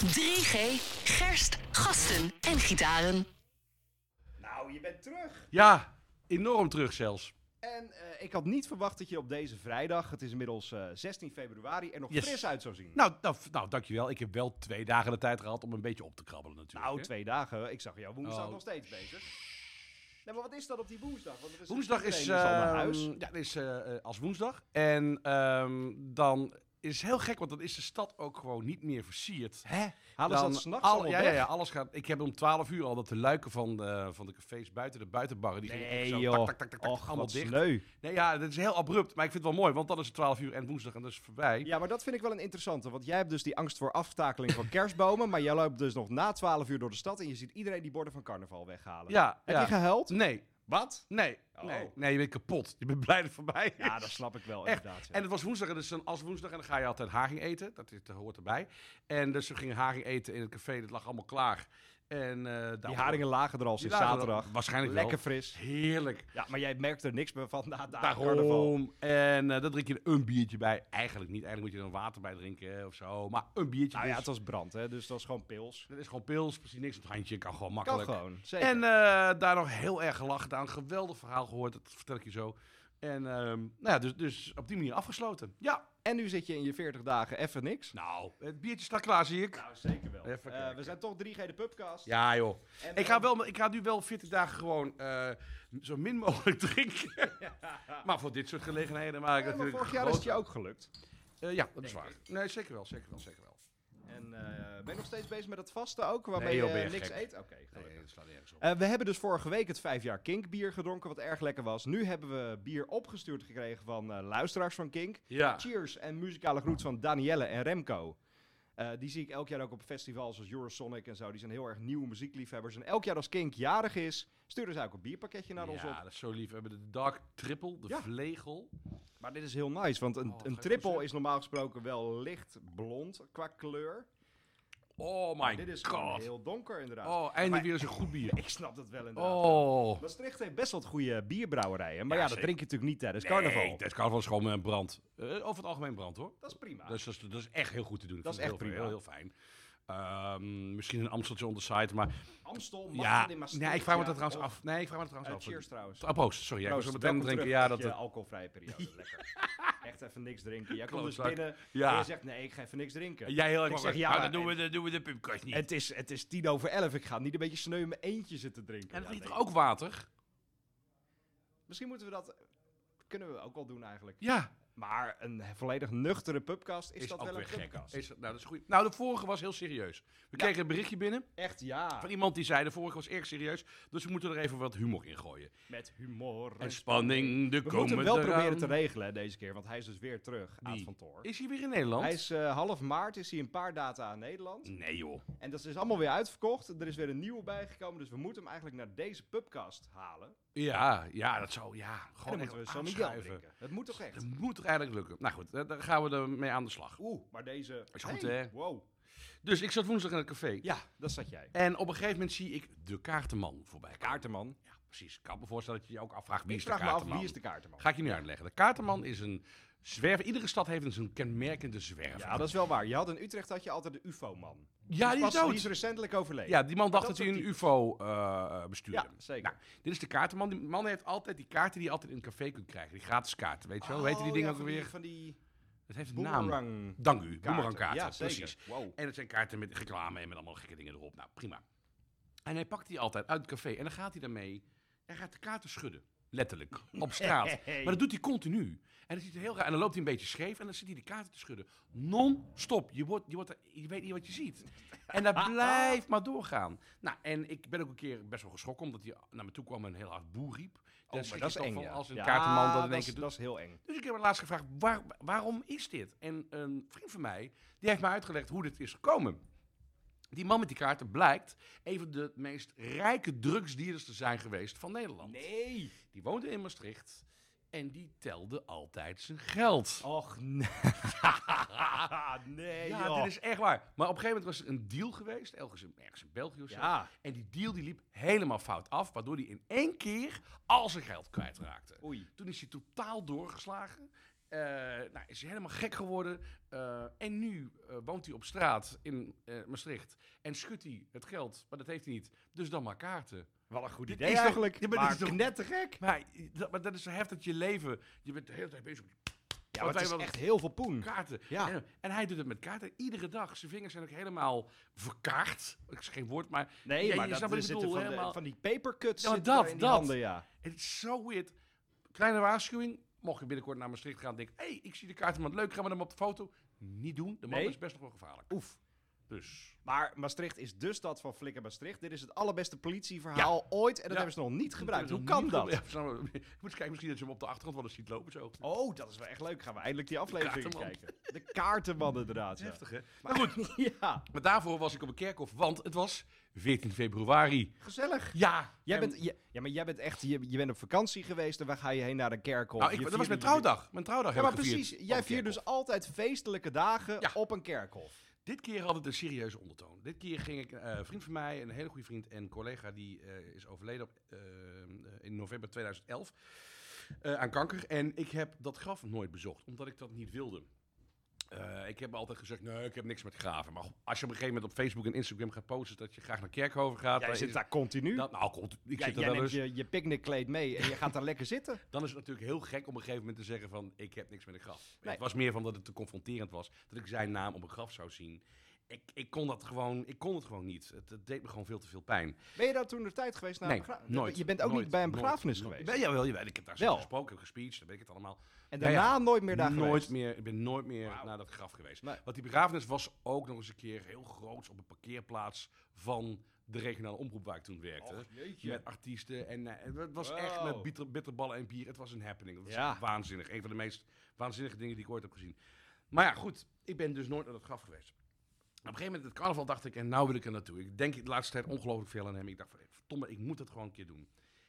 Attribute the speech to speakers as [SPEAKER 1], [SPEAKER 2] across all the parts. [SPEAKER 1] 3G, gerst, gasten en gitaren.
[SPEAKER 2] Nou, je bent terug.
[SPEAKER 3] Ja, enorm terug zelfs.
[SPEAKER 2] En eh, ik had niet verwacht dat je op deze vrijdag, het is inmiddels eh, 16 februari, er nog
[SPEAKER 3] Yes.
[SPEAKER 2] fris uit zou zien.
[SPEAKER 3] Nou, nou, f- nou, dankjewel. Ik heb wel twee dagen de tijd gehad om een beetje op te krabbelen natuurlijk.
[SPEAKER 2] Nou,
[SPEAKER 3] hè.
[SPEAKER 2] twee dagen. Ik zag jou woensdag
[SPEAKER 3] Oh.
[SPEAKER 2] nog steeds bezig. Nee, maar wat is dat op die woensdag? Want er is
[SPEAKER 3] Woensdag is,
[SPEAKER 2] iedereen al naar
[SPEAKER 3] ehm,
[SPEAKER 2] huis.
[SPEAKER 3] ja, dat is eh, eh, als woensdag. En ehm, dan is het heel gek, want dan is de stad ook gewoon niet meer versierd.
[SPEAKER 2] Hè? Halen ze
[SPEAKER 3] Dan
[SPEAKER 2] dat s'nachts
[SPEAKER 3] al-
[SPEAKER 2] allemaal
[SPEAKER 3] ja, ja,
[SPEAKER 2] weg?
[SPEAKER 3] ja, alles gaat. Ik heb om 12 uur al dat de luiken van de, van de cafés buiten de buitenbarren, die gingen echt
[SPEAKER 2] Nee,
[SPEAKER 3] zo
[SPEAKER 2] joh.
[SPEAKER 3] tak, tak, tak, tak, tak,
[SPEAKER 2] Och,
[SPEAKER 3] allemaal
[SPEAKER 2] wat
[SPEAKER 3] dicht.
[SPEAKER 2] sneu.
[SPEAKER 3] Nee, ja, dat is heel abrupt, maar ik vind het wel mooi, want dan is het 12 uur en woensdag en dat is voorbij.
[SPEAKER 2] Ja, maar dat vind ik wel een interessante. Want jij hebt dus die angst voor aftakeling van kerstbomen. maar jij loopt dus nog na 12 uur door de stad en je ziet iedereen die borden van carnaval weghalen.
[SPEAKER 3] Ja,
[SPEAKER 2] Heb
[SPEAKER 3] ja.
[SPEAKER 2] je gehuild?
[SPEAKER 3] Nee,
[SPEAKER 2] Wat?
[SPEAKER 3] nee,
[SPEAKER 2] Oh.
[SPEAKER 3] nee, nee, je bent kapot. Je bent blij dat het voorbij is.
[SPEAKER 2] Ja, dat snap ik wel
[SPEAKER 3] Echt.
[SPEAKER 2] inderdaad. ja.
[SPEAKER 3] En het was woensdag, en dus dan als woensdag, en dan ga je altijd haring eten. Dat, is, dat hoort erbij. En dus we gingen haring eten in het café, dat lag allemaal klaar. En, eh,
[SPEAKER 2] die
[SPEAKER 3] daarom-
[SPEAKER 2] haringen lagen er al
[SPEAKER 3] Die
[SPEAKER 2] sinds
[SPEAKER 3] lagen er-
[SPEAKER 2] zaterdag.
[SPEAKER 3] Waarschijnlijk
[SPEAKER 2] Lekker
[SPEAKER 3] wel.
[SPEAKER 2] fris.
[SPEAKER 3] Heerlijk.
[SPEAKER 2] Ja, maar jij merkt er niks meer van na Nou de carnaval.
[SPEAKER 3] Daarom. En eh dan drink je er een biertje bij. Eigenlijk niet. Eigenlijk moet je er dan water bij drinken eh, of zo. Maar een biertje.
[SPEAKER 2] Nou ja, het
[SPEAKER 3] dus.
[SPEAKER 2] was brand, hè? dus dat was gewoon pils.
[SPEAKER 3] Dat is gewoon pils, precies niks op het handje. Kan gewoon
[SPEAKER 2] Kan
[SPEAKER 3] makkelijk.
[SPEAKER 2] gewoon, zeker.
[SPEAKER 3] En eh, daar nog heel erg gelachen aan. Geweldig verhaal gehoord, dat vertel ik je zo. En ehm, nou ja, dus, dus op die manier afgesloten. Ja,
[SPEAKER 2] En nu zit je in je 40 dagen even niks.
[SPEAKER 3] nou, het biertje staat klaar, zie ik.
[SPEAKER 2] Nou, zeker wel.
[SPEAKER 3] Even
[SPEAKER 2] Eh,
[SPEAKER 3] kijken.
[SPEAKER 2] we zijn toch 3G de pubcast.
[SPEAKER 3] Ja, joh.
[SPEAKER 2] En,
[SPEAKER 3] Ik ga,
[SPEAKER 2] eh,
[SPEAKER 3] wel, ik ga nu wel 40 dagen gewoon eh, zo min mogelijk drinken. maar voor dit soort gelegenheden maak ik
[SPEAKER 2] ja, maar
[SPEAKER 3] natuurlijk.
[SPEAKER 2] vorig jaar is
[SPEAKER 3] groot-
[SPEAKER 2] het je ook gelukt.
[SPEAKER 3] Eh, ja, dat is waar. Nee, zeker wel, zeker wel, zeker wel.
[SPEAKER 2] En eh, ben je nog steeds bezig met dat vaste ook, waarmee
[SPEAKER 3] Nee, joh, ben
[SPEAKER 2] je
[SPEAKER 3] je
[SPEAKER 2] niks
[SPEAKER 3] gek.
[SPEAKER 2] eet? Oké, gelukkig.
[SPEAKER 3] Nee, dat slaat nergens op.
[SPEAKER 2] Eh, we hebben dus vorige week het vijf jaar Kink bier gedronken, wat erg lekker was. Nu hebben we bier opgestuurd gekregen van eh, luisteraars van Kink.
[SPEAKER 3] Ja.
[SPEAKER 2] Cheers en muzikale groet van Danielle en Remco. Eh, die zie ik elk jaar ook op festivals als Eurosonic en zo. Die zijn heel erg nieuwe muziekliefhebbers. En elk jaar als Kink jarig is, sturen ze ook een bierpakketje naar ons
[SPEAKER 3] ja,
[SPEAKER 2] op.
[SPEAKER 3] dat is zo lief. We hebben de Dark Triple, de
[SPEAKER 2] Ja.
[SPEAKER 3] Vlegel.
[SPEAKER 2] Maar dit is heel nice, want een,
[SPEAKER 3] Oh,
[SPEAKER 2] een
[SPEAKER 3] ga ik
[SPEAKER 2] triple
[SPEAKER 3] proeven?
[SPEAKER 2] is normaal gesproken wel licht blond qua kleur.
[SPEAKER 3] Oh my
[SPEAKER 2] Dit is gewoon
[SPEAKER 3] god.
[SPEAKER 2] heel donker inderdaad.
[SPEAKER 3] Oh,
[SPEAKER 2] Maar-
[SPEAKER 3] eindelijk weer eens een goed bier.
[SPEAKER 2] Ik snap dat wel inderdaad.
[SPEAKER 3] Oh.
[SPEAKER 2] Maastricht heeft best wel goede bierbrouwerijen. Maar ja,
[SPEAKER 3] Ja,
[SPEAKER 2] dat
[SPEAKER 3] zeker.
[SPEAKER 2] drink je natuurlijk niet tijdens carnaval.
[SPEAKER 3] Nee, dus- het carnaval is gewoon een brand. Eh, over het algemeen brand hoor.
[SPEAKER 2] Dat is prima.
[SPEAKER 3] Dus dat is, dat is echt heel goed te doen. Ik
[SPEAKER 2] Dat
[SPEAKER 3] vind
[SPEAKER 2] is
[SPEAKER 3] het
[SPEAKER 2] echt
[SPEAKER 3] heel, Heel, heel fijn. Ehm, misschien een Amsteltje on the side, maar
[SPEAKER 2] Amstel, Machtel,
[SPEAKER 3] ja,
[SPEAKER 2] in Maastricht,
[SPEAKER 3] nee, ik vraag me
[SPEAKER 2] ja,
[SPEAKER 3] dat trouwens
[SPEAKER 2] of-
[SPEAKER 3] af. Nee, ik vraag me dat
[SPEAKER 2] Eh,
[SPEAKER 3] trouwens af.
[SPEAKER 2] cheers trouwens.
[SPEAKER 3] Ah, proost, sorry. Ja, ik was
[SPEAKER 2] Proost,
[SPEAKER 3] meteen aan het
[SPEAKER 2] welkom terug
[SPEAKER 3] drinken. Ja,
[SPEAKER 2] uit
[SPEAKER 3] dat, eh,
[SPEAKER 2] je alcoholvrije periode. Lekker. Echt even niks drinken. Jij komt dus
[SPEAKER 3] Klootzak.
[SPEAKER 2] binnen
[SPEAKER 3] Ja.
[SPEAKER 2] en je zegt, nee, ik ga even niks drinken.
[SPEAKER 3] en jij heel erg
[SPEAKER 2] Ik zeg,
[SPEAKER 3] makkelijk.
[SPEAKER 2] ja,
[SPEAKER 3] Nou,
[SPEAKER 2] maar-
[SPEAKER 3] dat doen we, dat doen we de pubkast niet. En,
[SPEAKER 2] Het is, het is tien over elf. Ik ga niet een beetje sneu in mijn eentje zitten drinken.
[SPEAKER 3] en
[SPEAKER 2] Ja,
[SPEAKER 3] dat is
[SPEAKER 2] nee.
[SPEAKER 3] toch ook water?
[SPEAKER 2] Misschien moeten we dat... Kunnen we ook wel doen eigenlijk.
[SPEAKER 3] Ja.
[SPEAKER 2] Maar een volledig nuchtere pubcast is, dat wel een pubcast.
[SPEAKER 3] Is, dat- nou, dat is goed. nou, de vorige was heel serieus. We kregen een berichtje binnen
[SPEAKER 2] Echt ja.
[SPEAKER 3] van iemand die zei: de vorige was erg serieus, dus we moeten er even wat humor in gooien.
[SPEAKER 2] Met humor.
[SPEAKER 3] En spanning, de
[SPEAKER 2] We moeten hem
[SPEAKER 3] komende.
[SPEAKER 2] wel proberen te regelen hè, deze keer, want hij is dus weer terug aan het
[SPEAKER 3] Wie?
[SPEAKER 2] kantoor.
[SPEAKER 3] Is hij weer in Nederland?
[SPEAKER 2] Hij is eh, half maart, is hij een paar data aan Nederland.
[SPEAKER 3] Nee, joh.
[SPEAKER 2] En dat is dus allemaal weer uitverkocht. Er is weer een nieuwe bijgekomen, dus we moeten hem eigenlijk naar deze pubcast halen. En
[SPEAKER 3] Ja, ja, dat zou. Ja,
[SPEAKER 2] dan
[SPEAKER 3] gewoon
[SPEAKER 2] moeten we
[SPEAKER 3] echt
[SPEAKER 2] San Miguel
[SPEAKER 3] aanschuiven.
[SPEAKER 2] drinken. Dat moet toch echt?
[SPEAKER 3] Dat moet toch eigenlijk lukken? Nou goed, eh, daar gaan we ermee aan de slag.
[SPEAKER 2] Oeh, maar deze...
[SPEAKER 3] Is goed,
[SPEAKER 2] Hey,
[SPEAKER 3] hè?
[SPEAKER 2] Wow.
[SPEAKER 3] Dus ik zat woensdag in het café.
[SPEAKER 2] Ja, dat zat jij.
[SPEAKER 3] En op een gegeven moment zie ik de kaartenman voorbij. komen.
[SPEAKER 2] Kaartenman.
[SPEAKER 3] Ja, precies. Ik kan me voorstellen dat je je ook afvraagt wie
[SPEAKER 2] Ik
[SPEAKER 3] is
[SPEAKER 2] vraag
[SPEAKER 3] de
[SPEAKER 2] me af,
[SPEAKER 3] kaartenman.
[SPEAKER 2] wie is de kaartenman?
[SPEAKER 3] Ga ik je nu uitleggen. De kaartenman is een zwerver. Iedere stad heeft een zo'n kenmerkende zwerver.
[SPEAKER 2] Ja, dat is wel waar. Je had in Utrecht had je altijd de UFO-man.
[SPEAKER 3] Ja, die is
[SPEAKER 2] Pas- Die is
[SPEAKER 3] dood.
[SPEAKER 2] recentelijk overleden.
[SPEAKER 3] Ja, die man dacht
[SPEAKER 2] dat
[SPEAKER 3] dat, hij
[SPEAKER 2] soort
[SPEAKER 3] een ufo eh bestuurde.
[SPEAKER 2] Ja, zeker.
[SPEAKER 3] Nou, dit is de kaartenman. Die man heeft altijd die kaarten die je altijd in een café kunt krijgen. Die gratis kaarten, weet je wel. Hoe heet die
[SPEAKER 2] Oh,
[SPEAKER 3] dingen
[SPEAKER 2] ja,
[SPEAKER 3] ook
[SPEAKER 2] van die-
[SPEAKER 3] alweer?
[SPEAKER 2] Van die
[SPEAKER 3] Het heeft een naam.
[SPEAKER 2] boomerang
[SPEAKER 3] Dank u.
[SPEAKER 2] kaarten.
[SPEAKER 3] Boemerangkaarten,
[SPEAKER 2] Ja, zeker.
[SPEAKER 3] precies.
[SPEAKER 2] Wow. Oh,
[SPEAKER 3] En het zijn kaarten met reclame en met allemaal gekke dingen erop. Nou, prima. En hij pakt die altijd uit het café en dan gaat hij daarmee... Hij gaat de kaarten schudden. Letterlijk. Op straat.
[SPEAKER 2] Nee.
[SPEAKER 3] Maar dat doet hij continu. En, dat ziet er heel raar. en dan loopt hij een beetje scheef en dan zit hij de kaarten te schudden. Non-stop. Je, wordt, je, wordt, er- je weet niet wat je ziet. En dat blijft maar doorgaan. Nou, en ik ben ook een keer best wel geschrokken omdat hij naar me toe kwam en heel hard boer riep. Daar
[SPEAKER 2] Oh, maar
[SPEAKER 3] schrik
[SPEAKER 2] dat
[SPEAKER 3] je
[SPEAKER 2] is
[SPEAKER 3] toch
[SPEAKER 2] eng,
[SPEAKER 3] van
[SPEAKER 2] ja.
[SPEAKER 3] Als een
[SPEAKER 2] Ja, Ah,
[SPEAKER 3] kaartenman dat in
[SPEAKER 2] dat
[SPEAKER 3] één keer
[SPEAKER 2] is-
[SPEAKER 3] doet.
[SPEAKER 2] Dat is heel eng.
[SPEAKER 3] Dus ik heb me laatst gevraagd, waar- waarom is dit? En een vriend van mij, die heeft mij uitgelegd hoe dit is gekomen. Die man met die kaarten blijkt een van de meest rijke drugsdealers te zijn geweest van Nederland.
[SPEAKER 2] Nee.
[SPEAKER 3] Die woonde in Maastricht en die telde altijd zijn geld.
[SPEAKER 2] Och, nee. Oh, nee,
[SPEAKER 3] ja,
[SPEAKER 2] joh.
[SPEAKER 3] dit is echt waar. Maar op een gegeven moment was er een deal geweest, ergens in, ergens in België of zo.
[SPEAKER 2] Ja.
[SPEAKER 3] En die deal die liep helemaal fout af, waardoor hij in één keer al zijn geld kwijtraakte.
[SPEAKER 2] Oei.
[SPEAKER 3] Toen is hij totaal doorgeslagen. Eh, nou, is helemaal gek geworden. Eh, en nu eh, woont hij op straat in eh, Maastricht. En schudt hij het geld, maar dat heeft hij niet. Dus dan maar kaarten.
[SPEAKER 2] Wel een goed
[SPEAKER 3] Dit
[SPEAKER 2] idee
[SPEAKER 3] is toch-
[SPEAKER 2] eigenlijk.
[SPEAKER 3] Ja, maar
[SPEAKER 2] maar
[SPEAKER 3] dit
[SPEAKER 2] maar
[SPEAKER 3] is toch-
[SPEAKER 2] knettergek.
[SPEAKER 3] Maar dat, maar dat is zo heftig dat je leven. Je bent de hele tijd bezig met die
[SPEAKER 2] Ja, maar
[SPEAKER 3] wij
[SPEAKER 2] het is
[SPEAKER 3] wel-
[SPEAKER 2] echt heel veel poen.
[SPEAKER 3] kaarten.
[SPEAKER 2] Ja.
[SPEAKER 3] En, en hij doet het met kaarten. Iedere dag. Zijn vingers zijn ook helemaal verkaard. Ik zeg geen woord, maar
[SPEAKER 2] Nee,
[SPEAKER 3] Ja,
[SPEAKER 2] maar
[SPEAKER 3] je
[SPEAKER 2] dat
[SPEAKER 3] snapt wat
[SPEAKER 2] er
[SPEAKER 3] ik
[SPEAKER 2] zitten
[SPEAKER 3] bedoel,
[SPEAKER 2] van, de-
[SPEAKER 3] helemaal.
[SPEAKER 2] van die papercuts
[SPEAKER 3] Ja, maar
[SPEAKER 2] zitten daar
[SPEAKER 3] dat,
[SPEAKER 2] in die
[SPEAKER 3] dat.
[SPEAKER 2] handen, ja.
[SPEAKER 3] het is zo weird. Kleine waarschuwing. Mocht je binnenkort naar Maastricht gaan, denk hé, hey, ik zie de kaarten, maar leuk, gaan we hem op de foto? Niet doen. De man
[SPEAKER 2] Nee.
[SPEAKER 3] is best nog wel gevaarlijk.
[SPEAKER 2] Oef.
[SPEAKER 3] Dus.
[SPEAKER 2] Maar Maastricht is de stad van Flikker Maastricht. Dit is het allerbeste politieverhaal ooit. En dat
[SPEAKER 3] Ja.
[SPEAKER 2] hebben ze nog niet gebruikt.
[SPEAKER 3] Dat
[SPEAKER 2] Hoe
[SPEAKER 3] is
[SPEAKER 2] kan
[SPEAKER 3] niet
[SPEAKER 2] dat?
[SPEAKER 3] goed. Ja, snap je. ik moet eens kijken, misschien dat je hem op de achtergrond wel eens ziet lopen zo.
[SPEAKER 2] Oh, dat is wel echt leuk. Gaan we eindelijk die aflevering
[SPEAKER 3] kaartenman.
[SPEAKER 2] kijken. De kaartenman inderdaad. ja.
[SPEAKER 3] Heftig, hè?
[SPEAKER 2] Maar goed. Ja,
[SPEAKER 3] Maar daarvoor was ik op een kerkhof, want het was 14 februari.
[SPEAKER 2] gezellig.
[SPEAKER 3] Ja.
[SPEAKER 2] Jij
[SPEAKER 3] en-
[SPEAKER 2] bent, je- ja, maar jij bent echt, je, je bent op vakantie geweest en waar ga je heen naar een kerkhof?
[SPEAKER 3] Nou, ik,
[SPEAKER 2] Je
[SPEAKER 3] dat
[SPEAKER 2] vierde
[SPEAKER 3] was mijn
[SPEAKER 2] je-
[SPEAKER 3] trouwdag. Mijn trouwdag
[SPEAKER 2] Ja,
[SPEAKER 3] heb
[SPEAKER 2] maar
[SPEAKER 3] ik gevierd
[SPEAKER 2] precies. Jij
[SPEAKER 3] op een
[SPEAKER 2] viert dus
[SPEAKER 3] kerkhof.
[SPEAKER 2] altijd feestelijke dagen
[SPEAKER 3] Ja.
[SPEAKER 2] op een kerkhof.
[SPEAKER 3] Dit keer had het een serieuze ondertoon. Dit keer ging ik, eh, een vriend van mij, een hele goede vriend en collega, die eh, is overleden op, eh, in november 2011 eh, aan kanker. En ik heb dat graf nooit bezocht, omdat ik dat niet wilde. Eh, ik heb altijd gezegd, nee, ik heb niks met graven. Maar als je op een gegeven moment op Facebook en Instagram gaat posten dat je graag naar Kerkhoven gaat...
[SPEAKER 2] Jij
[SPEAKER 3] dan
[SPEAKER 2] zit
[SPEAKER 3] is-
[SPEAKER 2] daar continu.
[SPEAKER 3] dan- nou, komt- ik
[SPEAKER 2] Jij-
[SPEAKER 3] zit er
[SPEAKER 2] jij
[SPEAKER 3] wel
[SPEAKER 2] neemt
[SPEAKER 3] eens.
[SPEAKER 2] je, je picknickkleed mee en je gaat daar lekker zitten.
[SPEAKER 3] Dan is het natuurlijk heel gek om op een gegeven moment te zeggen van... ik heb niks met een graf.
[SPEAKER 2] Nee.
[SPEAKER 3] Het was meer van dat het te confronterend was. Dat ik zijn naam op een graf zou zien. Ik, ik, kon, dat gewoon, ik kon het gewoon niet. Het, het deed me gewoon veel te veel pijn.
[SPEAKER 2] Ben je daar toen de tijd geweest naar
[SPEAKER 3] nee,
[SPEAKER 2] een Nou, begra-
[SPEAKER 3] nooit.
[SPEAKER 2] Je bent ook
[SPEAKER 3] nooit,
[SPEAKER 2] niet bij een
[SPEAKER 3] nooit,
[SPEAKER 2] begrafenis
[SPEAKER 3] nooit.
[SPEAKER 2] geweest.
[SPEAKER 3] Ben, jawel, jawel. Ik heb daar
[SPEAKER 2] Wel.
[SPEAKER 3] zelf gesproken, heb gespeecht, dan weet ik het allemaal.
[SPEAKER 2] en
[SPEAKER 3] Ja, ja.
[SPEAKER 2] daarna nooit meer daar
[SPEAKER 3] nooit
[SPEAKER 2] geweest.
[SPEAKER 3] meer, ik ben nooit meer
[SPEAKER 2] Wauw.
[SPEAKER 3] naar dat graf geweest.
[SPEAKER 2] Nee.
[SPEAKER 3] Want die begrafenis was ook nog eens een keer heel groot op een parkeerplaats van de regionale omroep waar ik toen werkte.
[SPEAKER 2] Och, jeetje.
[SPEAKER 3] met artiesten en eh, het was echt
[SPEAKER 2] Wow.
[SPEAKER 3] met bitter, bitterballen en bier. Het was een happening. Dat was
[SPEAKER 2] Ja.
[SPEAKER 3] waanzinnig. Een van de meest waanzinnige dingen die ik ooit heb gezien. Maar ja, goed. Ik ben dus nooit naar dat graf geweest. Op een gegeven moment, het carnaval, dacht ik, en nou wil ik er naartoe. Ik denk de laatste tijd ongelooflijk veel aan hem. Ik dacht van, eh, verdomme, ik moet het gewoon een keer doen.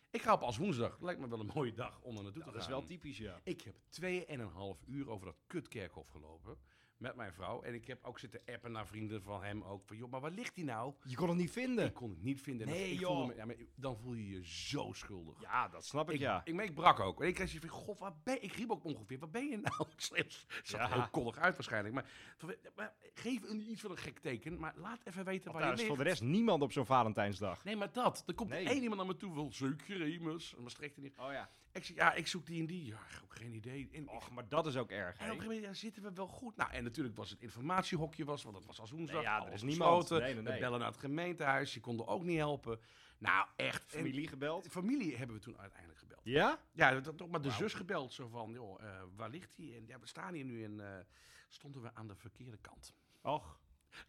[SPEAKER 3] Ik ga op als woensdag. Lijkt me wel een mooie dag om er naartoe te gaan.
[SPEAKER 2] typisch, ja.
[SPEAKER 3] Ik heb 2,5 uur over dat kutkerkhof gelopen met mijn vrouw. En ik heb ook zitten appen naar vrienden van hem ook. Van, joh, maar waar ligt hij nou?
[SPEAKER 2] Je kon het niet vinden.
[SPEAKER 3] Ik kon het niet vinden. En
[SPEAKER 2] Nee,
[SPEAKER 3] ik
[SPEAKER 2] joh.
[SPEAKER 3] voelde me- ja, maar dan voel je je zo schuldig.
[SPEAKER 2] Ja, dat snap ik,
[SPEAKER 3] Ik,
[SPEAKER 2] ja.
[SPEAKER 3] ik, maar ik brak ook. En ik kreeg zoiets van, god, waar ben ik? riep ook ongeveer, waar ben je nou? Het zag er
[SPEAKER 2] Ja.
[SPEAKER 3] heel koddig uit waarschijnlijk. Maar, van, maar geef een, iets van een gek teken, maar laat even weten
[SPEAKER 2] Want
[SPEAKER 3] waar
[SPEAKER 2] daar is
[SPEAKER 3] je ligt.
[SPEAKER 2] voor de rest niemand op zo'n Valentijnsdag.
[SPEAKER 3] Nee, maar dat. Er komt
[SPEAKER 2] Nee.
[SPEAKER 3] één iemand naar me toe van, zoek je Remus? En Maastricht en die.
[SPEAKER 2] Oh ja.
[SPEAKER 3] Ik zeg, ja, ik zoek die en die. Ja, ook geen idee. En ik-
[SPEAKER 2] Och, maar dat is ook erg,
[SPEAKER 3] en op een
[SPEAKER 2] hè?
[SPEAKER 3] gegeven moment ja, zitten we wel goed. Nou, en natuurlijk was het informatiehokje, was, want dat was als woensdag.
[SPEAKER 2] Nee, ja, er
[SPEAKER 3] alles
[SPEAKER 2] is niemand.
[SPEAKER 3] gesloten.
[SPEAKER 2] Nee, nee, nee.
[SPEAKER 3] We bellen naar het gemeentehuis, die konden ook niet helpen. Nou, echt. En
[SPEAKER 2] Familie gebeld.
[SPEAKER 3] familie hebben we toen uiteindelijk gebeld.
[SPEAKER 2] Ja?
[SPEAKER 3] Ja, dat- dat toch maar de
[SPEAKER 2] Wauw.
[SPEAKER 3] zus gebeld. Zo van, joh, eh, waar ligt hij? En ja, we staan hier nu en eh, stonden we aan de verkeerde kant.
[SPEAKER 2] Och,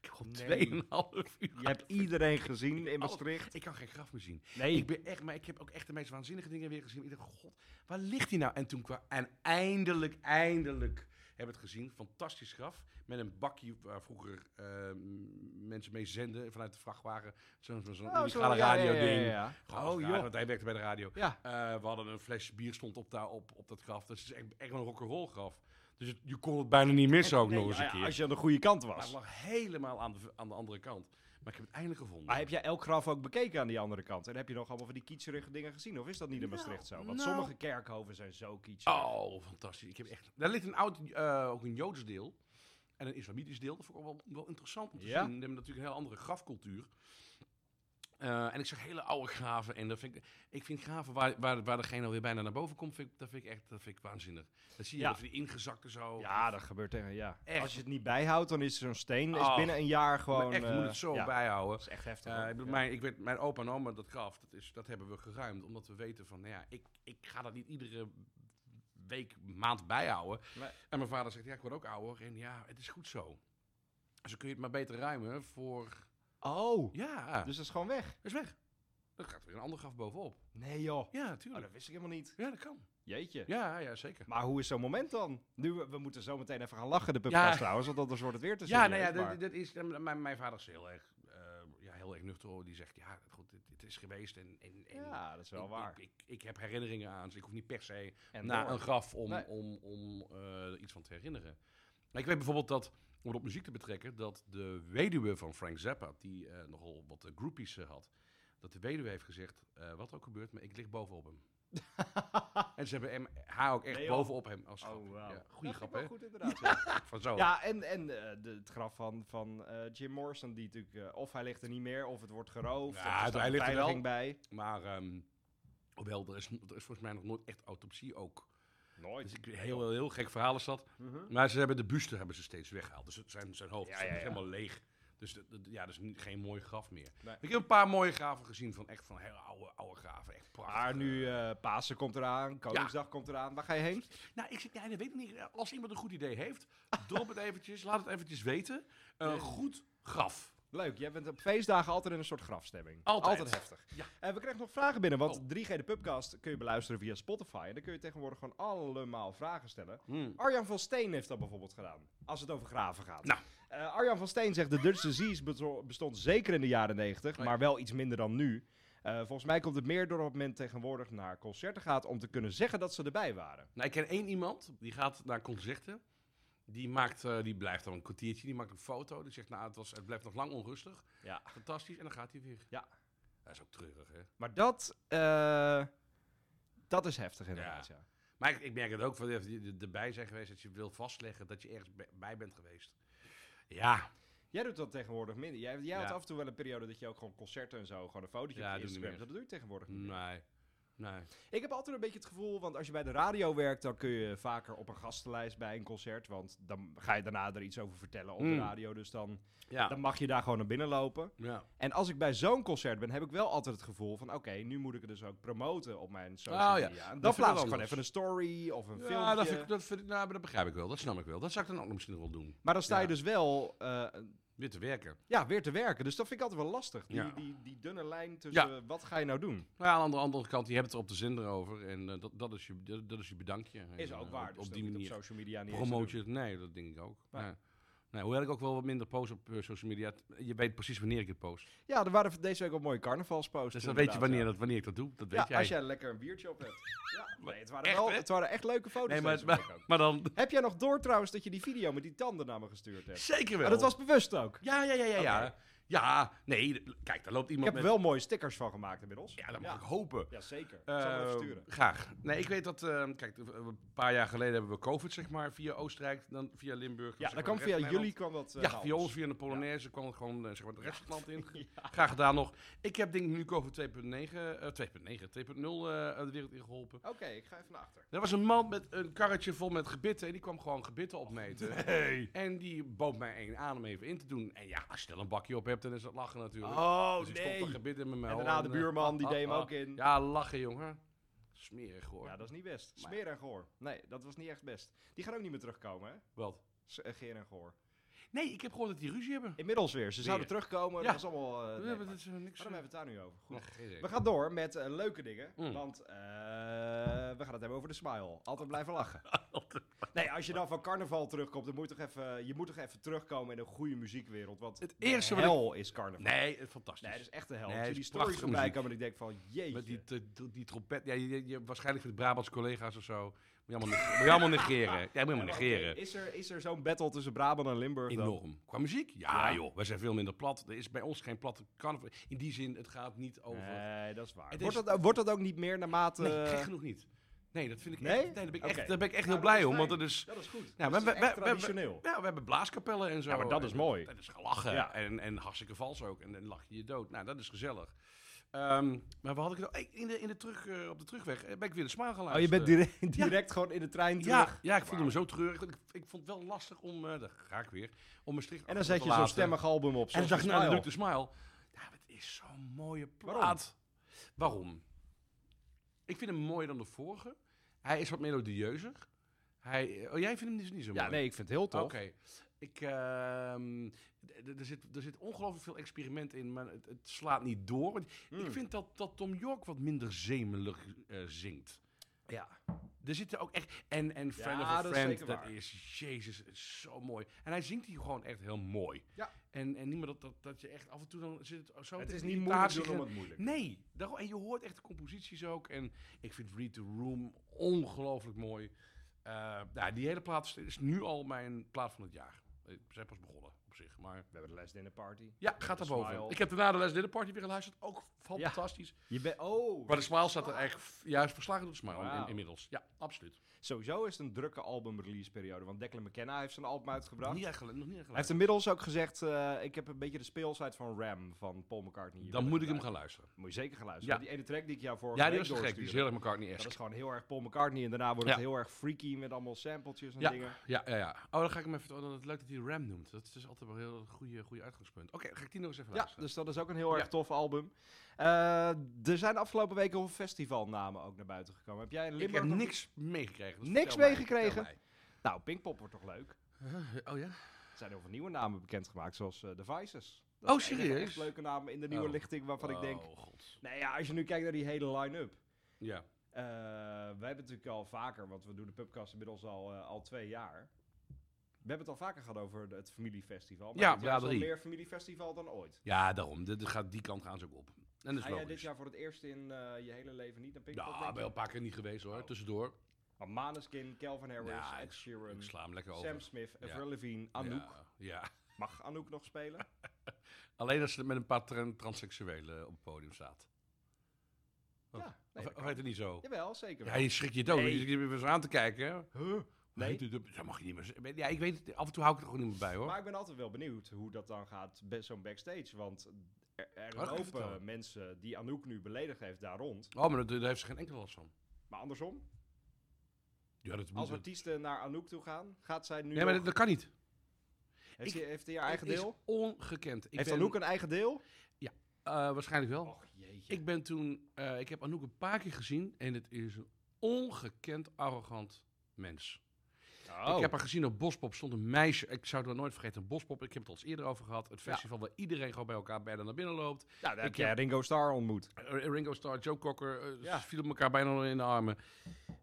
[SPEAKER 3] Ik
[SPEAKER 2] Nee.
[SPEAKER 3] heb 2,5 uur.
[SPEAKER 2] je hebt iedereen gezien in
[SPEAKER 3] Alles-
[SPEAKER 2] Maastricht.
[SPEAKER 3] Ik kan geen graf meer zien.
[SPEAKER 2] Nee.
[SPEAKER 3] Oh. Ik ben echt, maar ik heb ook echt de meest waanzinnige dingen weer gezien. Ik dacht, god, waar ligt hij nou? En toen kwam, en eindelijk, eindelijk hebben we het gezien. Fantastisch graf. Met een bakje waar vroeger eh, m- mensen mee zenden vanuit de vrachtwagen. Zo'n zo,
[SPEAKER 2] Oh, zo, ja, ja,
[SPEAKER 3] radio ding.
[SPEAKER 2] ja, ja, ja.
[SPEAKER 3] Oh
[SPEAKER 2] Oh,
[SPEAKER 3] joh.
[SPEAKER 2] joh.
[SPEAKER 3] Want hij werkte bij de radio.
[SPEAKER 2] Ja.
[SPEAKER 3] Eh, we hadden een flesje bier stond op, daar, op, op dat graf. Dus het is echt, echt wel een rock'n'roll graf. Dus het- je kon het bijna niet missen ook
[SPEAKER 2] Nee, nou
[SPEAKER 3] nog eens
[SPEAKER 2] ja,
[SPEAKER 3] een keer.
[SPEAKER 2] als je aan de goede kant
[SPEAKER 3] Maar het
[SPEAKER 2] was.
[SPEAKER 3] lag helemaal aan de, v- aan de andere kant. Maar ik heb het eindelijk gevonden.
[SPEAKER 2] Maar Ah, heb jij elk graf ook bekeken aan die andere kant? En heb je nog allemaal van die kietserige dingen gezien? Of is dat niet in
[SPEAKER 3] Nou,
[SPEAKER 2] Maastricht zo? Want
[SPEAKER 3] nou.
[SPEAKER 2] sommige kerkhoven zijn zo kietserig.
[SPEAKER 3] Oh, fantastisch. Ik heb echt... Daar ligt een oud, eh, ook een Joods deel en een Islamitisch deel. Dat vond ik ook wel, wel interessant om te
[SPEAKER 2] Ja?
[SPEAKER 3] zien. Die hebben natuurlijk een heel andere grafcultuur. Eh, en ik zag hele oude graven. En dat vind ik, ik vind graven waar, waar, waar degene alweer bijna naar boven komt, vind ik, dat vind ik echt dat vind ik waanzinnig. Dan zie je
[SPEAKER 2] Ja.
[SPEAKER 3] dat die ingezakte zo.
[SPEAKER 2] Ja, dat gebeurt echt. Ja.
[SPEAKER 3] Echt.
[SPEAKER 2] Als je het niet bijhoudt, dan is zo'n steen is
[SPEAKER 3] Oh.
[SPEAKER 2] binnen een jaar
[SPEAKER 3] Maar
[SPEAKER 2] gewoon.
[SPEAKER 3] echt, je moet
[SPEAKER 2] eh,
[SPEAKER 3] het zo
[SPEAKER 2] ja,
[SPEAKER 3] bijhouden.
[SPEAKER 2] Dat is echt heftig.
[SPEAKER 3] Eh,
[SPEAKER 2] hoor.
[SPEAKER 3] ik
[SPEAKER 2] Ja.
[SPEAKER 3] bedoel, mijn, ik weet, mijn opa en oma, dat graf, dat, is, dat hebben we geruimd. Omdat we weten van, nou ja, ik, ik ga dat niet iedere week, maand bijhouden.
[SPEAKER 2] Nee.
[SPEAKER 3] En mijn vader zegt, ja, ik word ook ouder. En ja, het is goed zo. Dus dan kun je het maar beter ruimen voor...
[SPEAKER 2] Oh,
[SPEAKER 3] Ja, dus
[SPEAKER 2] dus dat is gewoon weg.
[SPEAKER 3] is weg. Dan gaat er weer een ander graf bovenop.
[SPEAKER 2] Nee joh.
[SPEAKER 3] Ja,
[SPEAKER 2] Oh,
[SPEAKER 3] tuurlijk.
[SPEAKER 2] dat wist ik helemaal niet.
[SPEAKER 3] Ja, dat kan.
[SPEAKER 2] Jeetje.
[SPEAKER 3] Ja, ja zeker.
[SPEAKER 2] Maar hoe is zo'n moment dan? Nu, we we moeten zo meteen even gaan lachen, de podcast
[SPEAKER 3] Ja.
[SPEAKER 2] trouwens, want anders wordt het weer te
[SPEAKER 3] Ja,
[SPEAKER 2] serieus.
[SPEAKER 3] nou ja,
[SPEAKER 2] maar-
[SPEAKER 3] dat, dat is, eh, mijn, mijn vader is heel erg, eh, ja, heel erg nuchter. hoor. Die zegt, ja, goed, het, het is geweest. En, en, en
[SPEAKER 2] ja, dat is wel
[SPEAKER 3] ik,
[SPEAKER 2] waar.
[SPEAKER 3] Ik, ik, ik heb herinneringen aan, dus ik hoef niet per se
[SPEAKER 2] en
[SPEAKER 3] naar
[SPEAKER 2] door.
[SPEAKER 3] een graf om,
[SPEAKER 2] Nee.
[SPEAKER 3] om, om eh, iets van te herinneren. Maar ik weet bijvoorbeeld dat, om het op muziek te betrekken, dat de weduwe van Frank Zappa, die eh, nogal wat eh, groupies eh, had, dat de weduwe heeft gezegd, eh, wat ook gebeurt, maar ik lig bovenop hem. en ze hebben hem, haar ook echt
[SPEAKER 2] Nee, joh.
[SPEAKER 3] bovenop hem als grap.
[SPEAKER 2] Oh, wauw.
[SPEAKER 3] ja,
[SPEAKER 2] Dat vind
[SPEAKER 3] goeie
[SPEAKER 2] ik
[SPEAKER 3] grap,
[SPEAKER 2] wel
[SPEAKER 3] hè?
[SPEAKER 2] goed inderdaad. ja.
[SPEAKER 3] Van zo.
[SPEAKER 2] Ja, en, en eh, de, het graf van, van eh, Jim Morrison, die natuurlijk, eh, of hij ligt er niet meer, of het wordt geroofd.
[SPEAKER 3] Ja,
[SPEAKER 2] of er staat
[SPEAKER 3] hij ligt er wel.
[SPEAKER 2] beveiliging bij.
[SPEAKER 3] Maar, ehm hoewel, er is, er is volgens mij nog nooit echt autopsie ook. Dus
[SPEAKER 2] Nooit.
[SPEAKER 3] ik, heel, eh, heel, heel gek verhaal is dat.
[SPEAKER 2] Mhm.
[SPEAKER 3] Maar ze hebben de buste hebben ze steeds weggehaald. Dus het zijn, zijn hoofd
[SPEAKER 2] Ja,
[SPEAKER 3] is dan
[SPEAKER 2] ja, ja.
[SPEAKER 3] helemaal leeg. Dus dat, dat- ja, dat is niet, geen mooi graf meer.
[SPEAKER 2] Nee.
[SPEAKER 3] Ik heb een paar mooie graven gezien van echt van hele oude, oude graven. Echt prachtig.
[SPEAKER 2] Maar nu eh Pasen komt eraan, Koningsdag komt eraan. Waar ga je heen?
[SPEAKER 3] Nou, ik zit, ja, dat weet ik niet. Als iemand een goed idee heeft, drop het eventjes. Laat het eventjes weten. Een
[SPEAKER 2] Nee.
[SPEAKER 3] goed graf.
[SPEAKER 2] Leuk, jij bent op feestdagen altijd in een soort grafstemming.
[SPEAKER 3] Altijd.
[SPEAKER 2] heftig.
[SPEAKER 3] Ja.
[SPEAKER 2] En we kregen nog vragen binnen, want
[SPEAKER 3] Oh.
[SPEAKER 2] 3G de Pubcast kun je beluisteren via Spotify. En dan kun je tegenwoordig gewoon allemaal vragen stellen. Arjan van Steen heeft dat bijvoorbeeld gedaan. Als het over graven gaat.
[SPEAKER 3] Nou.
[SPEAKER 2] Eh, Arjan van Steen zegt: De Dutch disease bezo- bestond zeker in de jaren 90,
[SPEAKER 3] Nee.
[SPEAKER 2] maar wel iets minder dan nu. Eh, volgens mij komt het meer door dat men tegenwoordig naar concerten gaat om te kunnen zeggen dat ze erbij waren.
[SPEAKER 3] Nou, ik ken één iemand, die gaat naar concerten. Die, maakt, eh, die blijft dan een kwartiertje, die maakt een foto. Die zegt, nou, het, was, het blijft nog lang onrustig.
[SPEAKER 2] Ja.
[SPEAKER 3] Fantastisch. En dan gaat hij weer.
[SPEAKER 2] Ja.
[SPEAKER 3] Dat is ook treurig, hè?
[SPEAKER 2] Maar dat, eh, dat is heftig inderdaad. Ja.
[SPEAKER 3] Maar ik, ik merk het ook, van de- die erbij zijn geweest, dat je wil vastleggen dat je ergens bij- bij bent geweest. Ja,
[SPEAKER 2] Jij doet dat tegenwoordig minder. Jij, jij had
[SPEAKER 3] Ja.
[SPEAKER 2] af en toe wel een periode dat je ook gewoon concerten en zo, gewoon een fotootje
[SPEAKER 3] Ja,
[SPEAKER 2] op je
[SPEAKER 3] doe niet
[SPEAKER 2] Instagram.
[SPEAKER 3] meer.
[SPEAKER 2] Dat doe je tegenwoordig niet.
[SPEAKER 3] nee. Nee.
[SPEAKER 2] Ik heb altijd een beetje het gevoel, want als je bij de radio werkt, dan kun je vaker op een gastenlijst bij een concert. Want dan ga je daarna er iets over vertellen op de
[SPEAKER 3] Mm.
[SPEAKER 2] radio. Dus dan,
[SPEAKER 3] Ja.
[SPEAKER 2] dan mag je daar gewoon naar binnen lopen.
[SPEAKER 3] ja.
[SPEAKER 2] En als ik bij zo'n concert ben, heb ik wel altijd het gevoel van... oké, nu moet ik het dus ook promoten op mijn social
[SPEAKER 3] Oh
[SPEAKER 2] media.
[SPEAKER 3] ja,
[SPEAKER 2] En
[SPEAKER 3] dat
[SPEAKER 2] dan
[SPEAKER 3] vind ik
[SPEAKER 2] plaats ik gewoon
[SPEAKER 3] anders.
[SPEAKER 2] even een story of een
[SPEAKER 3] Ja,
[SPEAKER 2] filmpje.
[SPEAKER 3] dat, vind ik, dat, vind ik, nou, maar dat begrijp ik wel. Dat snap ik wel. Dat zou ik dan ook misschien wel doen.
[SPEAKER 2] Maar dan sta je
[SPEAKER 3] Ja.
[SPEAKER 2] dus wel eh,
[SPEAKER 3] Weer te werken.
[SPEAKER 2] ja, weer te werken. Dus dat vind ik altijd wel lastig. Die,
[SPEAKER 3] Ja.
[SPEAKER 2] die, die dunne lijn tussen wat ga je nou doen?
[SPEAKER 3] Maar ja, aan de andere kant, je hebt het er op de zender over. En eh, dat, dat, is je, dat, dat is je bedankje. En,
[SPEAKER 2] Is ook
[SPEAKER 3] eh,
[SPEAKER 2] waar.
[SPEAKER 3] Op,
[SPEAKER 2] dus
[SPEAKER 3] op
[SPEAKER 2] dat
[SPEAKER 3] die
[SPEAKER 2] hoef je
[SPEAKER 3] manier
[SPEAKER 2] op social media niet eens te
[SPEAKER 3] promoot
[SPEAKER 2] doen.
[SPEAKER 3] je het. Nee, dat denk ik ook.
[SPEAKER 2] Maar-
[SPEAKER 3] Nee. Nee, hoewel ik ook wel wat minder post op eh, social media. t- Je weet precies wanneer ik het post.
[SPEAKER 2] Ja, er waren deze week ook mooie carnavalsposts.
[SPEAKER 3] Dus
[SPEAKER 2] toen
[SPEAKER 3] dan weet
[SPEAKER 2] inderdaad,
[SPEAKER 3] je wanneer,
[SPEAKER 2] ja.
[SPEAKER 3] dat, wanneer ik dat doe. Dat weet
[SPEAKER 2] ja,
[SPEAKER 3] jij.
[SPEAKER 2] als jij lekker een biertje op hebt. Ja, nee, het, waren
[SPEAKER 3] Echt,
[SPEAKER 2] wel,
[SPEAKER 3] hè?
[SPEAKER 2] het waren echt leuke foto's.
[SPEAKER 3] nee, maar,
[SPEAKER 2] deze week
[SPEAKER 3] maar,
[SPEAKER 2] ook.
[SPEAKER 3] maar dan...
[SPEAKER 2] Heb jij nog door trouwens dat je die video met die tanden naar me gestuurd hebt?
[SPEAKER 3] Zeker wel.
[SPEAKER 2] Maar dat was bewust ook.
[SPEAKER 3] Ja, ja, ja, ja. Ja, ja nee. d- Kijk, daar loopt
[SPEAKER 2] Ik
[SPEAKER 3] iemand
[SPEAKER 2] heb
[SPEAKER 3] met...
[SPEAKER 2] er wel mooie stickers van gemaakt inmiddels.
[SPEAKER 3] Ja, dat mag
[SPEAKER 2] ja.
[SPEAKER 3] ik hopen.
[SPEAKER 2] Ja, zeker. Ik zal hem even
[SPEAKER 3] Eh,
[SPEAKER 2] sturen.
[SPEAKER 3] graag. Nee, ik weet dat... eh, kijk, eh, een paar jaar geleden hebben we COVID, zeg maar, via Oostenrijk, dan via
[SPEAKER 2] Ja,
[SPEAKER 3] Limburg. zeg
[SPEAKER 2] dat
[SPEAKER 3] maar,
[SPEAKER 2] kwam
[SPEAKER 3] de rest
[SPEAKER 2] via
[SPEAKER 3] van Nederland.
[SPEAKER 2] jullie kwam dat eh,
[SPEAKER 3] Ja,
[SPEAKER 2] naar
[SPEAKER 3] via
[SPEAKER 2] ons.
[SPEAKER 3] ons, via de Polonaise, kwam het gewoon eh, zeg maar, het rest van het land in. Graag gedaan nog. Ik heb denk ik nu COVID 2.9, eh, 2.9, 2.0 eh, de wereld ingeholpen.
[SPEAKER 2] Oké, ik ga even naar achter.
[SPEAKER 3] Er was een man met een karretje vol met gebitten en die kwam gewoon gebitten opmeten.
[SPEAKER 2] Hey.
[SPEAKER 3] En die bood mij één aan om even in te doen. En ja, als je dan een bakje op hebt, dan is dat lachen natuurlijk.
[SPEAKER 2] Oh,
[SPEAKER 3] dus ik stopte een gebit in mijn
[SPEAKER 2] En
[SPEAKER 3] mel.
[SPEAKER 2] daarna de
[SPEAKER 3] eh,
[SPEAKER 2] buurman, die
[SPEAKER 3] ah,
[SPEAKER 2] deed hem
[SPEAKER 3] ah,
[SPEAKER 2] ook in.
[SPEAKER 3] Ja, lachen jongen. Smerig hoor.
[SPEAKER 2] Ja, dat is niet best.
[SPEAKER 3] Maar-
[SPEAKER 2] Smeer en goor. Nee, dat was niet echt best. Die gaan ook niet meer terugkomen, hè?
[SPEAKER 3] Wat?
[SPEAKER 2] S- eh, Geer en goor.
[SPEAKER 3] Nee, ik heb gehoord dat die ruzie hebben.
[SPEAKER 2] Inmiddels weer. Ze zouden
[SPEAKER 3] Weer.
[SPEAKER 2] terugkomen.
[SPEAKER 3] Ja.
[SPEAKER 2] Dat was allemaal... eh, nee,
[SPEAKER 3] hebben
[SPEAKER 2] maar-
[SPEAKER 3] dat is eh, niks.
[SPEAKER 2] Waarom hebben we het daar nu over? Goed.
[SPEAKER 3] Nee, geen idee.
[SPEAKER 2] We gaan door met eh, leuke dingen,
[SPEAKER 3] Mm.
[SPEAKER 2] want eh, we gaan het hebben over de smile. Altijd blijven lachen. Nee, als je dan van carnaval terugkomt, dan moet je toch even, je moet toch even terugkomen in een goede muziekwereld. Want
[SPEAKER 3] Het eerste
[SPEAKER 2] de
[SPEAKER 3] wat ik-
[SPEAKER 2] hel is carnaval.
[SPEAKER 3] Nee, eh, fantastisch.
[SPEAKER 2] Nee, dat is echt de hel.
[SPEAKER 3] Nee,
[SPEAKER 2] Als je
[SPEAKER 3] het
[SPEAKER 2] die
[SPEAKER 3] is
[SPEAKER 2] stories
[SPEAKER 3] prachtige
[SPEAKER 2] voorbij
[SPEAKER 3] muziek.
[SPEAKER 2] komen, dan denk ik van, jeetje.
[SPEAKER 3] Met die, t- t- die trompet. Ja, je, je- je- waarschijnlijk voor de Brabants collega's of zo. Moet je allemaal, neg- moet je allemaal negeren. Ja, moet je allemaal
[SPEAKER 2] Maar oké,
[SPEAKER 3] negeren.
[SPEAKER 2] is er, is er zo'n battle tussen Brabant en Limburg dan?
[SPEAKER 3] Enorm. Qua muziek? Ja,
[SPEAKER 2] Ja.
[SPEAKER 3] joh. Wij zijn veel minder plat. Er is bij ons geen platte carnaval. In die zin, het gaat niet over...
[SPEAKER 2] Nee, dat is waar.
[SPEAKER 3] Het
[SPEAKER 2] Wordt,
[SPEAKER 3] is-
[SPEAKER 2] dat, wordt dat ook niet meer naarmate...
[SPEAKER 3] Nee, gek genoeg niet. Nee, dat vind ik
[SPEAKER 2] Nee?
[SPEAKER 3] echt... Nee, daar ben ik echt,
[SPEAKER 2] Oké.
[SPEAKER 3] daar ben ik echt
[SPEAKER 2] Nou,
[SPEAKER 3] heel
[SPEAKER 2] dat
[SPEAKER 3] blij
[SPEAKER 2] is
[SPEAKER 3] om. Want
[SPEAKER 2] fijn.
[SPEAKER 3] dat is...
[SPEAKER 2] Dat is goed.
[SPEAKER 3] Ja,
[SPEAKER 2] dat is
[SPEAKER 3] Nou, we-
[SPEAKER 2] echt
[SPEAKER 3] we- we- we-
[SPEAKER 2] traditioneel.
[SPEAKER 3] Ja, we hebben blaaskapellen en zo.
[SPEAKER 2] Ja, maar dat is
[SPEAKER 3] En
[SPEAKER 2] mooi.
[SPEAKER 3] Dat is gelachen.
[SPEAKER 2] Ja.
[SPEAKER 3] En, en hartstikke vals ook. En dan lach je je dood. Nou, dat is gezellig. Ehm, maar waar had ik het al- Eh, in de, in de terug, eh, op de terugweg eh, ben ik weer de smaal gaan
[SPEAKER 2] Oh, je bent
[SPEAKER 3] luisteren.
[SPEAKER 2] direct, direct gewoon in de trein terug.
[SPEAKER 3] Ja, ja, ik
[SPEAKER 2] Wauw.
[SPEAKER 3] voelde me zo treurig. Ik, ik vond het wel lastig om, eh daar ga ik weer, om mijn strikt
[SPEAKER 2] En dan zet je zo'n stemmig album op.
[SPEAKER 3] En
[SPEAKER 2] zoals
[SPEAKER 3] dan zag ik
[SPEAKER 2] de
[SPEAKER 3] nou
[SPEAKER 2] Smile.
[SPEAKER 3] de Smile. Ja, het is zo'n mooie plaat.
[SPEAKER 2] Waarom?
[SPEAKER 3] Waarom? Ik vind hem mooier dan de vorige. Hij is wat melodieuzer. Hij, oh, jij vindt hem dus niet zo mooi?
[SPEAKER 2] Ja, nee, ik vind het heel
[SPEAKER 3] Oké.
[SPEAKER 2] tof.
[SPEAKER 3] Ik, ehm, d- d- er, zit, er zit ongelooflijk veel experiment in, maar het, het slaat niet door. Want
[SPEAKER 2] Hmm.
[SPEAKER 3] Ik vind dat, dat Tom York wat minder zemelig eh, zingt.
[SPEAKER 2] Ja.
[SPEAKER 3] Er zitten ook echt... En, en Friend
[SPEAKER 2] Ja,
[SPEAKER 3] of
[SPEAKER 2] dat
[SPEAKER 3] a
[SPEAKER 2] is
[SPEAKER 3] Friend,
[SPEAKER 2] zeker
[SPEAKER 3] dat
[SPEAKER 2] waar.
[SPEAKER 3] is... Jezus, het is zo mooi. En hij zingt hier gewoon echt heel mooi.
[SPEAKER 2] Ja.
[SPEAKER 3] En, en niet meer dat, dat, dat je echt af en toe dan zit het zo...
[SPEAKER 2] Het
[SPEAKER 3] tegen
[SPEAKER 2] is
[SPEAKER 3] de
[SPEAKER 2] niet moeilijk
[SPEAKER 3] irritatie
[SPEAKER 2] doen om
[SPEAKER 3] gaan.
[SPEAKER 2] het moeilijk.
[SPEAKER 3] Nee, daarom, en je hoort echt de composities ook. En ik vind Read the Room ongelooflijk mooi. Eh, nou, die hele plaat is- is nu al mijn plaat van het jaar. Eh, We zijn pas begonnen. op zich. Maar
[SPEAKER 2] We hebben de Les Dinner Party.
[SPEAKER 3] ja, gaat
[SPEAKER 2] de
[SPEAKER 3] daarboven.
[SPEAKER 2] Smile.
[SPEAKER 3] Ik heb daarna de Les Dinner Party weer geluisterd. Ook van
[SPEAKER 2] Ja.
[SPEAKER 3] fantastisch.
[SPEAKER 2] Je bent oh,
[SPEAKER 3] Maar de Smile staat er echt f- juist verslagen door de Smile in-
[SPEAKER 2] Wauw.
[SPEAKER 3] inmiddels. Ja, absoluut.
[SPEAKER 2] sowieso is het een drukke albumreleaseperiode. Want Declan McKenna heeft zijn album uitgebracht.
[SPEAKER 3] Niet echt, gelu- nog niet echt
[SPEAKER 2] Hij heeft inmiddels ook gezegd, eh, ik heb een beetje de speelsheid van Ram van Paul McCartney. hier
[SPEAKER 3] Dan
[SPEAKER 2] willen
[SPEAKER 3] moet ik hem
[SPEAKER 2] gebruiken.
[SPEAKER 3] gaan luisteren.
[SPEAKER 2] Moet je zeker gaan luisteren.
[SPEAKER 3] Ja.
[SPEAKER 2] Die ene track die ik jou vorige
[SPEAKER 3] Ja,
[SPEAKER 2] week
[SPEAKER 3] die was te gek. Die is
[SPEAKER 2] doorstuurde,
[SPEAKER 3] heel erg mccartney
[SPEAKER 2] Dat is
[SPEAKER 3] esque
[SPEAKER 2] gewoon heel erg Paul McCartney. En daarna wordt het
[SPEAKER 3] Ja.
[SPEAKER 2] heel erg freaky met allemaal sampletjes en
[SPEAKER 3] Ja.
[SPEAKER 2] dingen.
[SPEAKER 3] Ja, ja, ja. Oh, dan ga ik hem even... Oh, dan- leuk dat hij Ram noemt. Dat is dus altijd wel een heel goede, goede uitgangspunt. Oké, dan ga ik die nog eens even
[SPEAKER 2] Ja,
[SPEAKER 3] luisteren.
[SPEAKER 2] dus dat is ook een heel erg
[SPEAKER 3] Ja.
[SPEAKER 2] tof album. Eh, er zijn de afgelopen weken heel veel festivalnamen ook naar buiten gekomen. Heb jij in
[SPEAKER 3] ik
[SPEAKER 2] Limburg
[SPEAKER 3] heb
[SPEAKER 2] nog-
[SPEAKER 3] niks meegekregen. dus
[SPEAKER 2] Niks
[SPEAKER 3] vertel mij,
[SPEAKER 2] meegekregen?
[SPEAKER 3] vertel
[SPEAKER 2] Nou, Pinkpop wordt toch leuk?
[SPEAKER 3] mij. Oh ja?
[SPEAKER 2] Er zijn heel veel nieuwe namen bekendgemaakt, zoals eh The Vices.
[SPEAKER 3] Oh,
[SPEAKER 2] is een
[SPEAKER 3] serieus?
[SPEAKER 2] echt leuke naam in de nieuwe
[SPEAKER 3] Oh.
[SPEAKER 2] lichting waarvan ik denk...
[SPEAKER 3] Oh, god.
[SPEAKER 2] Nou ja, als je nu kijkt naar die hele line-up.
[SPEAKER 3] Ja.
[SPEAKER 2] Eh, we hebben het natuurlijk al vaker, want we doen de podcast inmiddels al, eh, al twee jaar. We hebben het al vaker gehad over de- het familiefestival. Maar
[SPEAKER 3] Ja,
[SPEAKER 2] dit jaar is al
[SPEAKER 3] Braderie.
[SPEAKER 2] meer familiefestival dan ooit.
[SPEAKER 3] ja, daarom. Dit dit gaat, die kant gaan ze ook op. En dat
[SPEAKER 2] Ga jij
[SPEAKER 3] is
[SPEAKER 2] Ah dit
[SPEAKER 3] logisch.
[SPEAKER 2] jaar voor het eerst in eh, je hele leven niet naar Pinkpop?
[SPEAKER 3] Ja,
[SPEAKER 2] denk je?
[SPEAKER 3] wel een paar keer niet geweest hoor.
[SPEAKER 2] Oh.
[SPEAKER 3] Tussendoor.
[SPEAKER 2] Maar Maneskin, Calvin Harris,
[SPEAKER 3] Ja,
[SPEAKER 2] Ed Sheeran,
[SPEAKER 3] Ik sla hem lekker over.
[SPEAKER 2] Sam Smith,
[SPEAKER 3] Ja. Ah,
[SPEAKER 2] Avril Lavigne, Anouk.
[SPEAKER 3] Ja, ja.
[SPEAKER 2] Mag Anouk nog spelen?
[SPEAKER 3] Alleen als ze met een paar tran- transseksuelen op het podium staat. Wat?
[SPEAKER 2] Ja, nee,
[SPEAKER 3] oh. Of,
[SPEAKER 2] dat
[SPEAKER 3] of
[SPEAKER 2] kan.
[SPEAKER 3] heet het niet zo?
[SPEAKER 2] Jawel, zeker.
[SPEAKER 3] Ja, je schrik je dood.
[SPEAKER 2] Nee.
[SPEAKER 3] Je zit even aan te kijken. hè. Huh?
[SPEAKER 2] Nee.
[SPEAKER 3] Heet het- Dat mag je niet meer zeggen. Ja, ik weet het. Af en toe hou ik er gewoon niet meer bij hoor.
[SPEAKER 2] Maar ik ben altijd wel benieuwd hoe dat dan gaat, be- zo'n backstage. Want er, er
[SPEAKER 3] Oh, dat kan je
[SPEAKER 2] lopen
[SPEAKER 3] vertellen.
[SPEAKER 2] mensen die Anouk nu beledigd heeft daar rond.
[SPEAKER 3] Oh, maar daar daar heeft ze geen enkele last van.
[SPEAKER 2] Maar andersom,
[SPEAKER 3] Ja, dat moet
[SPEAKER 2] als artiesten naar Anouk toe gaan, gaat zij nu
[SPEAKER 3] Nee, maar
[SPEAKER 2] nog-
[SPEAKER 3] dat, dat kan niet.
[SPEAKER 2] heeft,
[SPEAKER 3] ik-
[SPEAKER 2] hij, heeft hij haar eigen
[SPEAKER 3] Het
[SPEAKER 2] deel?
[SPEAKER 3] is ongekend. Ik
[SPEAKER 2] heeft
[SPEAKER 3] ben,
[SPEAKER 2] Anouk een eigen deel?
[SPEAKER 3] eh, waarschijnlijk wel.
[SPEAKER 2] Och jeetje.
[SPEAKER 3] Ik ben toen, eh, ik heb Anouk een paar keer gezien en het is een ongekend arrogant mens.
[SPEAKER 2] Oh.
[SPEAKER 3] Ik heb haar gezien op Bospop, stond een meisje, ik zou het wel nooit vergeten, Bospop, ik heb het al eens eerder over gehad, het festival waar iedereen gewoon bij elkaar bijna naar binnen loopt.
[SPEAKER 2] nou, daar heb
[SPEAKER 3] ik
[SPEAKER 2] jij
[SPEAKER 3] heb-
[SPEAKER 2] Ringo Starr ontmoet.
[SPEAKER 3] Eh, Ringo Starr, Joe Cocker, eh, ze
[SPEAKER 2] Ja.
[SPEAKER 3] vielen elkaar bijna in de armen.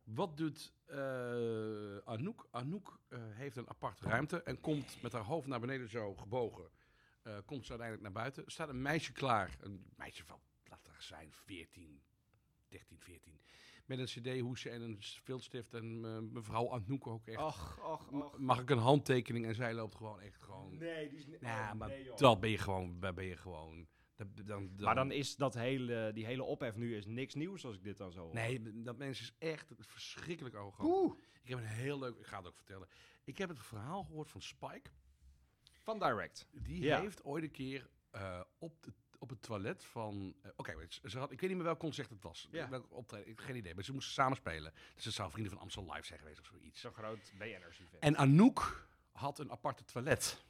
[SPEAKER 3] Wat doet eh, Anouk? Anouk eh, heeft een aparte ruimte en komt met haar hoofd naar beneden zo gebogen. Eh, komt ze uiteindelijk naar buiten. Er staat een meisje klaar. Een meisje van, laat haar zijn, 14, 13, 14. Met een cd-hoesje en een filtstift en eh, mevrouw Anouk ook echt.
[SPEAKER 2] Och, och,
[SPEAKER 3] Ma-
[SPEAKER 2] Oh, och.
[SPEAKER 3] Mag ik een handtekening? En zij loopt gewoon echt gewoon...
[SPEAKER 2] Nee, die is... niet.
[SPEAKER 3] Nou, maar
[SPEAKER 2] nee, joh.
[SPEAKER 3] dat ben je gewoon... Daar ben je gewoon... Dan, dan, dan-
[SPEAKER 2] Maar dan is dat hele, die hele ophef nu is niks nieuws als ik dit dan zo hoor.
[SPEAKER 3] Nee, d- dat mens is echt verschrikkelijk arrogant.
[SPEAKER 2] Oeh.
[SPEAKER 3] Ik heb een heel leuk... Ik ga het ook vertellen. Ik heb het verhaal gehoord van Spike.
[SPEAKER 2] Van Direct.
[SPEAKER 3] Die
[SPEAKER 2] Ja.
[SPEAKER 3] heeft ooit een keer eh, op, de, op het toilet van... eh, Oké, maar ze- ze had, ik weet niet meer welk concert het was.
[SPEAKER 2] Ja.
[SPEAKER 3] Welk optreden, ik heb geen idee. Maar ze moesten samen spelen. Dus het zou Vrienden van Amstel Live zijn geweest of zoiets.
[SPEAKER 2] Zo'n groot BN'ers event.
[SPEAKER 3] En Anouk had een aparte toilet.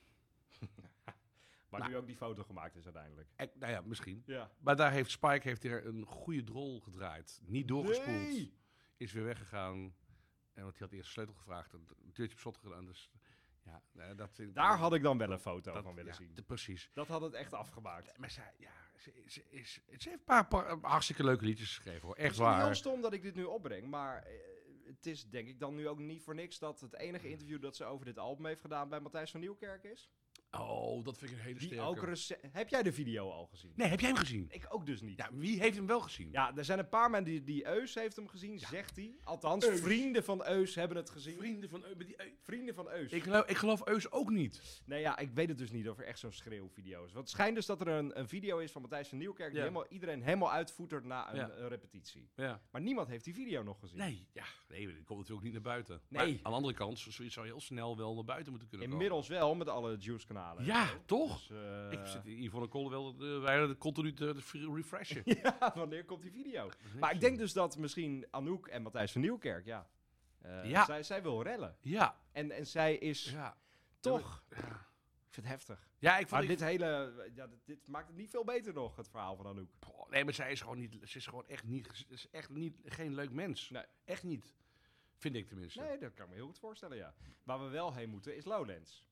[SPEAKER 2] Waar
[SPEAKER 3] nou.
[SPEAKER 2] nu ook die foto gemaakt is uiteindelijk.
[SPEAKER 3] En, nou ja, misschien.
[SPEAKER 2] Ja.
[SPEAKER 3] Maar daar heeft Spike heeft er een goede drol gedraaid. Niet doorgespoeld.
[SPEAKER 2] Nee!
[SPEAKER 3] Is weer weggegaan. En want hij had eerst de sleutel gevraagd. En het deurtje op slot gedaan. Dus ja, eh, dat vind ik-
[SPEAKER 2] Daar had ik dan wel een foto
[SPEAKER 3] dat-
[SPEAKER 2] van willen
[SPEAKER 3] ja,
[SPEAKER 2] zien.
[SPEAKER 3] de- precies.
[SPEAKER 2] Dat had het echt afgemaakt.
[SPEAKER 3] Maar zij, ja, ze, ze, is, ze heeft een paar, paar hartstikke leuke liedjes geschreven hoor. Echt
[SPEAKER 2] Het is heel
[SPEAKER 3] waar.
[SPEAKER 2] stom dat ik dit nu opbreng, maar eh, het is denk ik dan nu ook niet voor niks dat het enige interview dat ze over dit album heeft gedaan bij Matthijs van Nieuwkerk is.
[SPEAKER 3] Oh, dat vind ik een hele
[SPEAKER 2] Die
[SPEAKER 3] sterke.
[SPEAKER 2] ook rece- Heb jij de video al gezien?
[SPEAKER 3] Nee, heb jij hem gezien?
[SPEAKER 2] Ik ook dus niet. Ja.
[SPEAKER 3] Ja, wie heeft hem wel gezien?
[SPEAKER 2] er zijn een paar mensen die, die Eus heeft hem gezien, zegt hij. Althans,
[SPEAKER 3] Eus.
[SPEAKER 2] vrienden van Eus hebben het gezien.
[SPEAKER 3] Vrienden van Eu- maar die Eu-
[SPEAKER 2] Vrienden van Eus.
[SPEAKER 3] Ik geloof, ik geloof Eus ook niet.
[SPEAKER 2] Nee, ja, ik weet het dus niet of er echt zo'n schreeuwvideo is. Want het schijnt dus dat er een, een video is van Matthijs van Nieuwkerk... die
[SPEAKER 3] Ja.
[SPEAKER 2] helemaal, iedereen helemaal uitvoetert na een,
[SPEAKER 3] Ja.
[SPEAKER 2] een repetitie.
[SPEAKER 3] Ja.
[SPEAKER 2] Maar niemand heeft die video nog gezien.
[SPEAKER 3] Nee, ja, nee, maar die komt natuurlijk niet naar buiten.
[SPEAKER 2] Nee.
[SPEAKER 3] Maar aan de andere kant, zoiets zou je heel snel wel naar buiten moeten kunnen komen.
[SPEAKER 2] Inmiddels wel, met alle Juice-kanalen. en
[SPEAKER 3] Ja,
[SPEAKER 2] zo.
[SPEAKER 3] toch?
[SPEAKER 2] Dus, eh,
[SPEAKER 3] Ik zit hier Yvonne Colwell, eh, wij hadden continu te te fr- refreshen.
[SPEAKER 2] ja, wanneer komt die video? Maar ik denk dus dat misschien Anouk en Matthijs van Nieuwkerk, ja... eh,
[SPEAKER 3] Ja.
[SPEAKER 2] Zij, zij wil rellen.
[SPEAKER 3] Ja,
[SPEAKER 2] En, en zij is
[SPEAKER 3] ja.
[SPEAKER 2] toch... Ik vind het heftig.
[SPEAKER 3] Ja, ik
[SPEAKER 2] Maar
[SPEAKER 3] vond...
[SPEAKER 2] dit
[SPEAKER 3] Dit...
[SPEAKER 2] hele... Ja, dit, dit maakt het niet veel beter nog, het verhaal van Anouk.
[SPEAKER 3] nee, maar zij is gewoon niet... Ze is gewoon echt niet... Ze is echt niet, geen leuk mens.
[SPEAKER 2] Nee.
[SPEAKER 3] Echt niet. Vind ik tenminste.
[SPEAKER 2] Nee, dat kan ik me heel goed voorstellen, ja. Waar we wel heen moeten is Lowlands.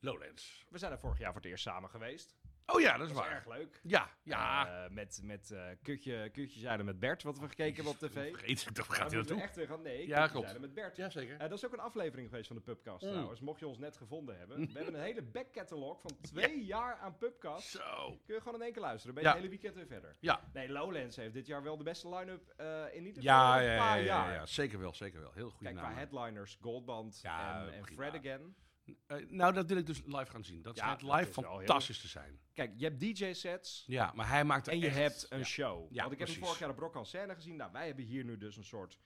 [SPEAKER 3] Lowlands.
[SPEAKER 2] We zijn er vorig jaar voor het eerst samen geweest.
[SPEAKER 3] Oh ja, dat
[SPEAKER 2] Dat
[SPEAKER 3] is
[SPEAKER 2] was
[SPEAKER 3] waar.
[SPEAKER 2] erg leuk.
[SPEAKER 3] Ja, ja.
[SPEAKER 2] Eh, met met eh, kutje, kutje Zeilen met Bert, wat we gekeken hebben op tv.
[SPEAKER 3] Vergeet ik, dat gaat
[SPEAKER 2] Daar
[SPEAKER 3] heel
[SPEAKER 2] moeten we
[SPEAKER 3] toe.
[SPEAKER 2] echt weer gaan. Nee,
[SPEAKER 3] Ja,
[SPEAKER 2] Kutje
[SPEAKER 3] klopt.
[SPEAKER 2] Zeilen met Bert.
[SPEAKER 3] Jazeker.
[SPEAKER 2] Eh, dat is ook een aflevering geweest van de Pubcast
[SPEAKER 3] Mm.
[SPEAKER 2] trouwens, mocht je ons net gevonden hebben. We hebben een hele backcatalog van twee jaar aan Pubcast.
[SPEAKER 3] Zo.
[SPEAKER 2] Kun je gewoon in één keer luisteren, ben je
[SPEAKER 3] Ja.
[SPEAKER 2] het hele weekend weer verder.
[SPEAKER 3] Ja.
[SPEAKER 2] Nee, Lowlands heeft dit jaar wel de beste line-up eh, in ieder geval
[SPEAKER 3] Ja,
[SPEAKER 2] een
[SPEAKER 3] ja, ja,
[SPEAKER 2] paar
[SPEAKER 3] ja,
[SPEAKER 2] jaar.
[SPEAKER 3] ja, Zeker wel, zeker wel. Heel goed
[SPEAKER 2] Kijk,
[SPEAKER 3] naam.
[SPEAKER 2] qua headliners, Goldband
[SPEAKER 3] Ja,
[SPEAKER 2] en, en
[SPEAKER 3] prima.
[SPEAKER 2] Fred Again.
[SPEAKER 3] Eh, nou, dat wil ik dus live gaan zien. Dat
[SPEAKER 2] Ja,
[SPEAKER 3] schijnt
[SPEAKER 2] dat
[SPEAKER 3] live
[SPEAKER 2] is wel heel-
[SPEAKER 3] fantastisch te zijn.
[SPEAKER 2] Kijk, je hebt DJ-sets
[SPEAKER 3] Ja, maar hij maakt er
[SPEAKER 2] en je
[SPEAKER 3] echt-
[SPEAKER 2] hebt een
[SPEAKER 3] ja.
[SPEAKER 2] show.
[SPEAKER 3] Ja,
[SPEAKER 2] Want ik heb hem
[SPEAKER 3] precies.
[SPEAKER 2] vorig jaar op Rock aan Scène gezien. Nou, wij hebben hier nu dus een soort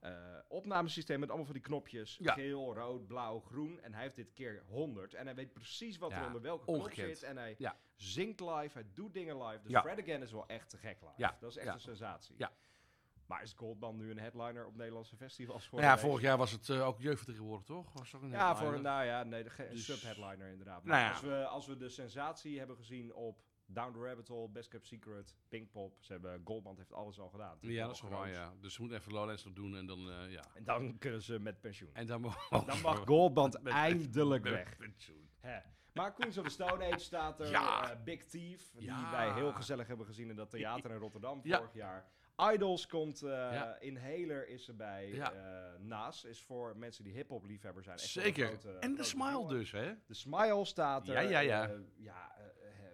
[SPEAKER 2] eh, opnamesysteem met allemaal van die knopjes.
[SPEAKER 3] Ja.
[SPEAKER 2] Geel, rood, blauw, groen. En hij heeft dit keer 100. En hij weet precies wat er
[SPEAKER 3] Ja,
[SPEAKER 2] onder welke knop
[SPEAKER 3] ongekend.
[SPEAKER 2] zit. En hij
[SPEAKER 3] Ja.
[SPEAKER 2] zingt live, hij doet dingen live. Dus
[SPEAKER 3] Ja.
[SPEAKER 2] Fred Again is wel echt te gek live.
[SPEAKER 3] Ja,
[SPEAKER 2] Dat is echt
[SPEAKER 3] ja.
[SPEAKER 2] een sensatie.
[SPEAKER 3] Ja.
[SPEAKER 2] Maar is Goldman nu een headliner op Nederlandse festivals?
[SPEAKER 3] Nou ja,
[SPEAKER 2] geworden?
[SPEAKER 3] vorig jaar was het eh, ook jeugdvertegenwoordigd, toch? Was ook Ah, een
[SPEAKER 2] Ja,
[SPEAKER 3] headliner.
[SPEAKER 2] voor, nou ja, nee, de ge- een
[SPEAKER 3] Dus-
[SPEAKER 2] subheadliner inderdaad. Maar
[SPEAKER 3] Nou ja.
[SPEAKER 2] als, we, als we de sensatie hebben gezien op Down the Rabbit Hole, Best Kept Secret, Pinkpop, ze hebben, Goldband heeft alles al gedaan. Het
[SPEAKER 3] Ja, dat is
[SPEAKER 2] wel
[SPEAKER 3] wel waar,
[SPEAKER 2] groot.
[SPEAKER 3] ja. Dus we moeten even Lowlands nog doen en dan, eh, ja.
[SPEAKER 2] En dan kunnen ze met pensioen.
[SPEAKER 3] En dan mogen
[SPEAKER 2] Dan
[SPEAKER 3] we-
[SPEAKER 2] mag Goldband
[SPEAKER 3] Met-
[SPEAKER 2] eindelijk
[SPEAKER 3] met
[SPEAKER 2] weg.
[SPEAKER 3] pensioen.
[SPEAKER 2] Hè. Maar Queens of the Stone Age staat er,
[SPEAKER 3] Ja.
[SPEAKER 2] eh, Big Thief, die
[SPEAKER 3] Ja.
[SPEAKER 2] wij heel gezellig hebben gezien in dat theater in Rotterdam
[SPEAKER 3] Ja.
[SPEAKER 2] vorig jaar. Idols komt, eh,
[SPEAKER 3] Ja.
[SPEAKER 2] Inhaler is erbij,
[SPEAKER 3] Ja.
[SPEAKER 2] eh, Naas is voor mensen die hip-hop liefhebber zijn. echt wel een
[SPEAKER 3] Zeker.
[SPEAKER 2] grote-
[SPEAKER 3] en de
[SPEAKER 2] grote
[SPEAKER 3] smile
[SPEAKER 2] jongen.
[SPEAKER 3] dus, hè?
[SPEAKER 2] De smile staat er.
[SPEAKER 3] Ja, ja, ja.
[SPEAKER 2] eh, ja, eh, eh,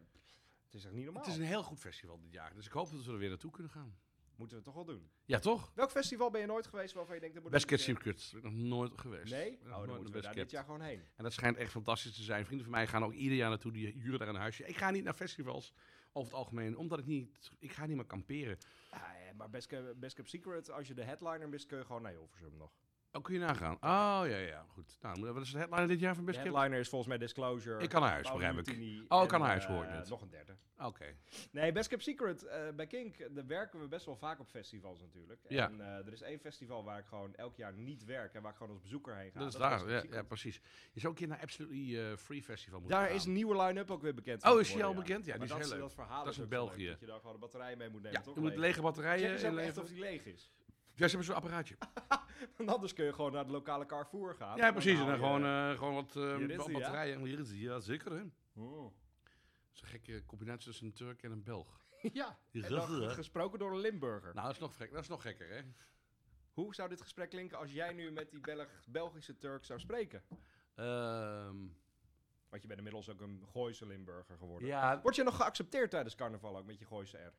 [SPEAKER 2] het is echt niet normaal.
[SPEAKER 3] Het is een heel goed festival dit jaar. Dus ik hoop dat we er weer naartoe kunnen gaan.
[SPEAKER 2] Moeten we toch wel doen.
[SPEAKER 3] Ja, toch?
[SPEAKER 2] Welk festival ben je nooit geweest waarvan je denkt... dat moet
[SPEAKER 3] Best
[SPEAKER 2] ik
[SPEAKER 3] Kept
[SPEAKER 2] een
[SPEAKER 3] Secret. Ben ik nog nooit
[SPEAKER 2] keer-
[SPEAKER 3] geweest.
[SPEAKER 2] Nee?
[SPEAKER 3] Ik ben
[SPEAKER 2] Oh,
[SPEAKER 3] nog
[SPEAKER 2] dan
[SPEAKER 3] nooit
[SPEAKER 2] moeten
[SPEAKER 3] naar
[SPEAKER 2] we
[SPEAKER 3] Best
[SPEAKER 2] daar dit
[SPEAKER 3] Kept.
[SPEAKER 2] jaar gewoon heen.
[SPEAKER 3] En dat schijnt echt fantastisch te zijn. Vrienden van mij gaan ook ieder jaar naartoe. Die huren daar een huisje. Ik ga niet naar festivals over het algemeen. Omdat ik niet... Ik ga niet meer kamperen.
[SPEAKER 2] Ja, eh, maar Best Kept, Best Kept Secret, als je de headliner mist, kun je gewoon naar Hilversum nog.
[SPEAKER 3] Oh, kun je nagaan? Oh, ja, ja. Goed. Nou, dan- wat is de headliner dit jaar van
[SPEAKER 2] De
[SPEAKER 3] Best Kept?
[SPEAKER 2] headliner is volgens mij Disclosure.
[SPEAKER 3] Ik kan naar huis,
[SPEAKER 2] Paolo
[SPEAKER 3] begrijp ik.
[SPEAKER 2] Nutini
[SPEAKER 3] Oh, ik
[SPEAKER 2] en,
[SPEAKER 3] kan naar huis,
[SPEAKER 2] eh,
[SPEAKER 3] hoor ik net.
[SPEAKER 2] Nog een derde.
[SPEAKER 3] Oké.
[SPEAKER 2] Nee, Best Kept Secret eh, bij Kink, eh, daar werken we best wel vaak op festivals natuurlijk.
[SPEAKER 3] Ja.
[SPEAKER 2] En eh, er is één festival waar ik gewoon elk jaar niet werk en waar ik gewoon als bezoeker heen ga.
[SPEAKER 3] dat is
[SPEAKER 2] Best
[SPEAKER 3] dus daar.
[SPEAKER 2] Kept
[SPEAKER 3] Ja,
[SPEAKER 2] Secret.
[SPEAKER 3] ja, precies. Je zou een keer naar Absolutely eh, Free Festival moeten
[SPEAKER 2] Daar
[SPEAKER 3] gaan.
[SPEAKER 2] is een nieuwe line-up ook weer bekend.
[SPEAKER 3] Oh,
[SPEAKER 2] van
[SPEAKER 3] is die
[SPEAKER 2] geworden,
[SPEAKER 3] al bekend? Ja,
[SPEAKER 2] Maar
[SPEAKER 3] die is
[SPEAKER 2] dat
[SPEAKER 3] heel leuk.
[SPEAKER 2] Dat verhaal
[SPEAKER 3] Dat is in
[SPEAKER 2] ook zo leuk,
[SPEAKER 3] België.
[SPEAKER 2] Dat je daar gewoon een batterij mee moet nemen,
[SPEAKER 3] Ja,
[SPEAKER 2] toch?
[SPEAKER 3] je moet eh,
[SPEAKER 2] Leeg.
[SPEAKER 3] lege
[SPEAKER 2] Check eens
[SPEAKER 3] batterijen
[SPEAKER 2] ook echt
[SPEAKER 3] inleveren.
[SPEAKER 2] of die leeg is.
[SPEAKER 3] Ja, ze hebben zo'n apparaatje.
[SPEAKER 2] Want anders kun je gewoon naar het lokale Carrefour gaan. Nou,
[SPEAKER 3] Ja, precies.
[SPEAKER 2] haal
[SPEAKER 3] En dan
[SPEAKER 2] je-
[SPEAKER 3] gewoon, eh, gewoon wat eh,
[SPEAKER 2] Hier is
[SPEAKER 3] wat
[SPEAKER 2] die, ja?
[SPEAKER 3] batterijen. Hier is die, ja zeker. Hè. Dat
[SPEAKER 2] Oh.
[SPEAKER 3] is een gekke combinatie tussen een Turk en een Belg.
[SPEAKER 2] Ja,
[SPEAKER 3] Die
[SPEAKER 2] en dan
[SPEAKER 3] ruggen, hè?
[SPEAKER 2] gesproken door een Limburger.
[SPEAKER 3] Nou, dat is nog, gek, dat is nog gekker, hè?
[SPEAKER 2] Hoe zou dit gesprek klinken als jij nu met die Belg- Belgische Turk zou spreken?
[SPEAKER 3] Ehm,
[SPEAKER 2] Want je bent inmiddels ook een Gooise Limburger geworden.
[SPEAKER 3] ja,
[SPEAKER 2] Word je nog geaccepteerd tijdens carnaval ook met je Gooise R?